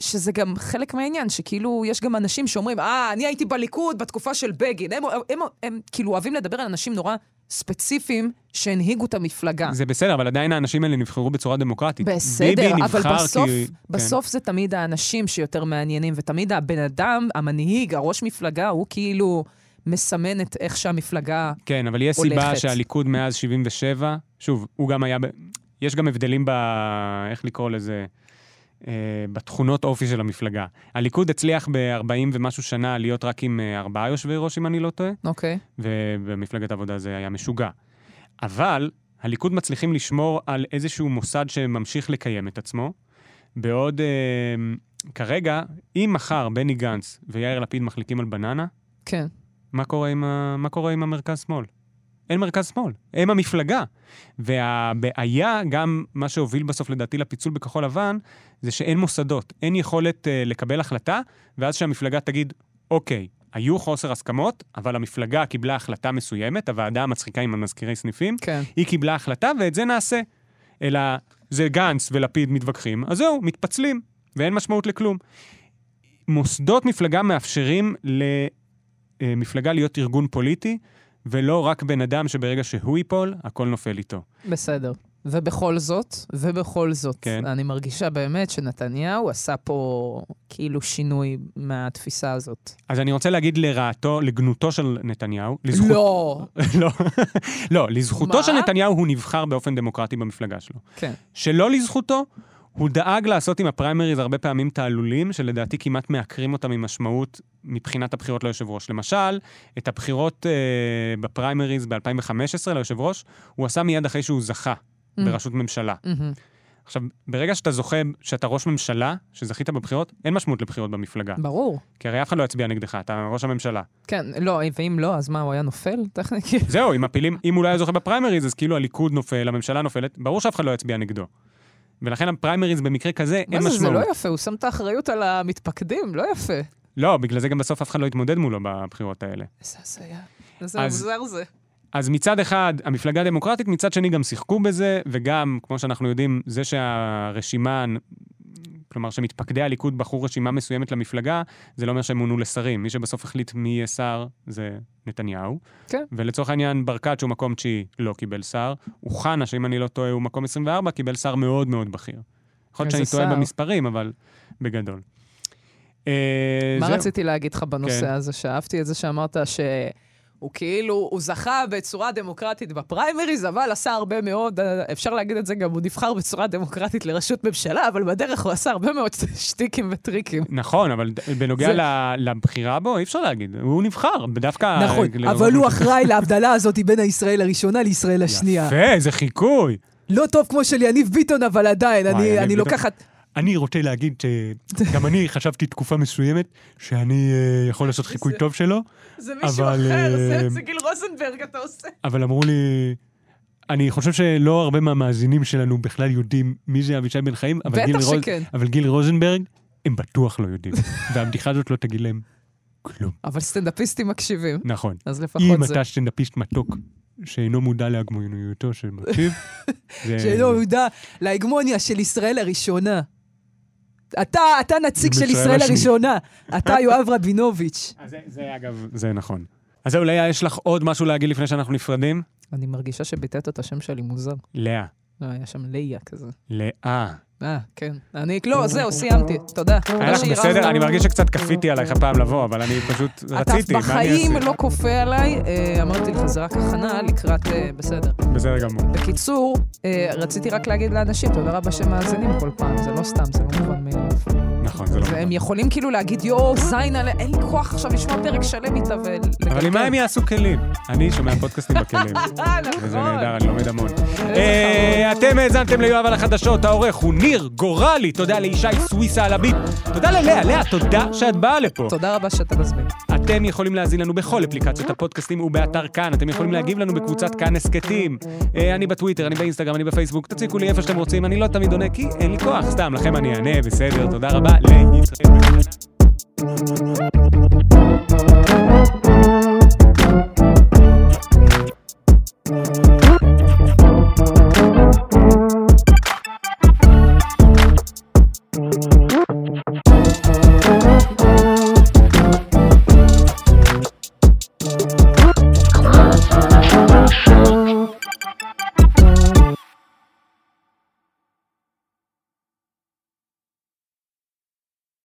[SPEAKER 3] שזה גם חלק מהעניין, שכאילו יש גם אנשים שאומרים, אה, אני הייתי בליכוד בתקופה של בגין. הם, הם, הם, הם כאילו אוהבים לדבר על אנשים נורא ספציפיים שהנהיגו את המפלגה.
[SPEAKER 2] זה בסדר, אבל עדיין האנשים האלה נבחרו בצורה דמוקרטית.
[SPEAKER 3] אה. בסדר,
[SPEAKER 2] ביבי
[SPEAKER 3] אבל
[SPEAKER 2] נבחר
[SPEAKER 3] בסוף,
[SPEAKER 2] כי...
[SPEAKER 3] בסוף זה תמיד האנשים שיותר מעניינים, ותמיד הבן אדם, המנהיג, הראש מפלגה, הוא כאילו מסמן את איך שהמפלגה...
[SPEAKER 2] כן, כן, אבל יש סיבה
[SPEAKER 3] הולכת.
[SPEAKER 2] שהליכוד מאז 77, שוב, הוא גם היה... ב... יש גם הבדלים ב... איך לקרוא לזה? אה, בתכונות אופי של המפלגה. הליכוד הצליח ב-40 ומשהו שנה להיות רק עם אה, ארבעה יושבי ראש, אם אני לא טועה,
[SPEAKER 3] אוקיי.
[SPEAKER 2] ובמפלגת העבודה זה היה משוגע. אבל הליכוד מצליחים לשמור על איזשהו מוסד שממשיך לקיים את עצמו, בעוד אה, כרגע, אם מחר בני גנץ ויאיר לפיד מחליטים על בננה,
[SPEAKER 3] כן.
[SPEAKER 2] מה קורה עם, ה... מה קורה עם המרכז-שמאל? אין מרכז-שמאל, הם המפלגה. והבעיה, גם מה שהוביל בסוף לדעתי לפיצול בכחול לבן, זה שאין מוסדות, אין יכולת אה, לקבל החלטה, ואז שהמפלגה תגיד, אוקיי, היו חוסר הסכמות, אבל המפלגה קיבלה החלטה מסוימת, הוועדה המצחיקה עם המזכירי סניפים,
[SPEAKER 3] כן.
[SPEAKER 2] היא קיבלה החלטה ואת זה נעשה. אלא זה גנץ ולפיד מתווכחים, אז זהו, מתפצלים, ואין משמעות לכלום. מוסדות מפלגה מאפשרים למפלגה להיות ארגון פוליטי, ולא רק בן אדם שברגע שהוא ייפול, הכל נופל איתו.
[SPEAKER 3] בסדר. ובכל זאת, ובכל זאת,
[SPEAKER 2] כן.
[SPEAKER 3] אני מרגישה באמת שנתניהו עשה פה כאילו שינוי מהתפיסה הזאת.
[SPEAKER 2] אז אני רוצה להגיד לרעתו, לגנותו של נתניהו, לזכות...
[SPEAKER 3] לא.
[SPEAKER 2] לא, לא, לזכותו
[SPEAKER 3] מה?
[SPEAKER 2] של נתניהו הוא נבחר באופן דמוקרטי במפלגה שלו.
[SPEAKER 3] כן.
[SPEAKER 2] שלא לזכותו, הוא דאג לעשות עם הפריימריז הרבה פעמים תעלולים, שלדעתי כמעט מעקרים אותם ממשמעות מבחינת הבחירות ליושב ראש. למשל, את הבחירות אה, בפריימריז ב-2015 ליושב ראש, הוא עשה מיד אחרי שהוא זכה
[SPEAKER 3] Mm.
[SPEAKER 2] בראשות ממשלה.
[SPEAKER 3] מהמם.
[SPEAKER 2] עכשיו, ברגע שאתה זוכה, שאתה ראש ממשלה, שזכית בבחירות, אין משמעות לבחירות במפלגה.
[SPEAKER 3] ברור.
[SPEAKER 2] כי הרי אף אחד לא יצביע נגדך, אתה ראש הממשלה.
[SPEAKER 3] כן, לא, ואם לא, אז מה, הוא היה נופל? טכנית, כאילו.
[SPEAKER 2] זהו, אם מפילים, אם הוא לא היה זוכה בפריימריז, אז כאילו הליכוד נופל, הממשלה נופלת, ברור שאף אחד לא יצביע נגדו. ולכן הפריימריז במקרה כזה, אין
[SPEAKER 3] מה
[SPEAKER 2] משמעות.
[SPEAKER 3] זה, זה לא יפה, הוא שם את האחריות על המתפקדים, לא יפה.
[SPEAKER 2] לא, בגלל זה גם בסוף אף אחד לא התמודד מולו בבחירות האלה.
[SPEAKER 3] איזה הזיה. איזה
[SPEAKER 2] אז-
[SPEAKER 3] מוזר זה.
[SPEAKER 2] אז מצד אחד, המפלגה הדמוקרטית, מצד שני גם שיחקו בזה, וגם, כמו שאנחנו יודעים, זה שהרשימה, כלומר שמתפקדי הליכוד בחרו רשימה מסוימת למפלגה, זה לא אומר שהם מונו לשרים. מי שבסוף החליט מי יהיה שר זה נתניהו.
[SPEAKER 3] כן.
[SPEAKER 2] ולצורך העניין, ברקת, שהוא מקום תשיעי, לא קיבל שר. אוחנה, שאם אני לא טועה, הוא מקום 24, קיבל שר מאוד מאוד בכיר. יכול להיות
[SPEAKER 3] איזה
[SPEAKER 2] שאני טועה
[SPEAKER 3] שר.
[SPEAKER 2] במספרים, אבל בגדול. אה,
[SPEAKER 3] מה
[SPEAKER 2] זהו.
[SPEAKER 3] רציתי להגיד לך בנושא
[SPEAKER 2] כן.
[SPEAKER 3] הזה? שאהבתי את זה שאמרת שהוא כאילו, הוא זכה בצורה דמוקרטית בפריימריז, אבל עשה הרבה מאוד, אה, אפשר להגיד את זה גם, הוא נבחר בצורה דמוקרטית לראשות ממשלה, אבל בדרך הוא עשה הרבה מאוד שטיקים וטריקים.
[SPEAKER 2] נכון, אבל ד- בנוגע
[SPEAKER 3] זה-
[SPEAKER 2] ל- לבחירה בו, אי אפשר להגיד. הוא נבחר, דווקא... ל-
[SPEAKER 3] נכון, אחראי להבדלה הזאת בין הישראל הראשונה לישראל
[SPEAKER 2] יפה, זה חיקוי.
[SPEAKER 3] לא טוב כמו של יניב ביטון, אבל עדיין,
[SPEAKER 2] וואי, יניב ביטון. אני רוצה להגיד שגם אני חשבתי תקופה מסוימת שאני אה, יכול לעשות חיקוי
[SPEAKER 3] זה-
[SPEAKER 2] טוב שלו,
[SPEAKER 3] זה מישהו
[SPEAKER 2] אבל,
[SPEAKER 3] אחר, זה-
[SPEAKER 2] אה,
[SPEAKER 3] זה גיל רוזנברג אתה עושה.
[SPEAKER 2] אבל אמרו לי... אני חושב שלא הרבה מהמאזינים שלנו בכלל יודעים מי זה אבישי בן חיים, אבל,
[SPEAKER 3] בטח
[SPEAKER 2] גיל, רוז-
[SPEAKER 3] שכן.
[SPEAKER 2] אבל גיל רוזנברג, הם בטוח לא יודעים. והבדיחה הזאת לא תגיד להם כלום.
[SPEAKER 3] אבל סטנדאפיסטים מקשיבים,
[SPEAKER 2] נכון.
[SPEAKER 3] אז
[SPEAKER 2] אם
[SPEAKER 3] לפחות זה.
[SPEAKER 2] אתה סטנדאפיסט מתוק שאינו מודע להגמוניותו של מקשיב, זה-
[SPEAKER 3] שלא יהודה, להגמוניה של ישראל הראשונה. אתה, אתה נציג של
[SPEAKER 2] ישראל
[SPEAKER 3] ישראל
[SPEAKER 2] השני.
[SPEAKER 3] הראשונה. אתה יואב רבינוביץ'.
[SPEAKER 2] אז זה- זה אגב, זה נכון. אז זהו, לאה, יש לך עוד משהו להגיד לפני שאנחנו נפרדים?
[SPEAKER 3] אני מרגישה שביטאת את השם שלי מוזר.
[SPEAKER 2] לאה.
[SPEAKER 3] לא, היה שם ליה כזה.
[SPEAKER 2] לאה.
[SPEAKER 3] אה, כן. אני, לא, זהו, סיימתי. תודה.
[SPEAKER 2] היה לך בסדר? אני מרגיש שקצת כפיתי עלייך הפעם לבוא, אבל אני פשוט רציתי, מה אני
[SPEAKER 3] לא- אתה בחיים
[SPEAKER 2] אעשה?
[SPEAKER 3] לא כופה עליי, אה, אמרתי לך, זה רק הכנה לקראת, אה, בסדר.
[SPEAKER 2] בסדר גמור.
[SPEAKER 3] בקיצור, אה, רציתי רק להגיד לאנשים, תודה רבה שמאזינים כל פעם, זה לא סתם, זה לא מובן מאליו.
[SPEAKER 2] נכון, זה לא...
[SPEAKER 3] והם יכולים כאילו להגיד, יואו, זין, עליה, אין לי כוח עכשיו לשמוע פרק שלם איתה ולגלגל.
[SPEAKER 2] אבל עם מה הם יעשו כלים? אני שומע פודקאסטים בכלים.
[SPEAKER 3] אה,
[SPEAKER 2] וזה
[SPEAKER 3] נכון.
[SPEAKER 2] נהדר, אני לומד המון. אה, אתם האזנתם ליואב על החדשות, העורך הוא ניר גורלי, תודה לישי סוויסה על הביט, תודה ללאה, לאה, תודה שאת באה לפה.
[SPEAKER 3] תודה אה? רבה שאתה מזמין.
[SPEAKER 2] אתם יכולים להזין לנו בכל אפליקציות הפודקאסטים ובאתר כאן. אתם יכולים להגיב לנו בקבוצת כאן הסכתים. אה, אני בטוויטר, אני באינסטגרם, אני בפייסבוק. תציקו לי איפה שאתם רוצים, אני לא תמיד עונה כי אין לי כוח. סתם, לכם אני אענה, בסדר, תודה רבה. לישראל.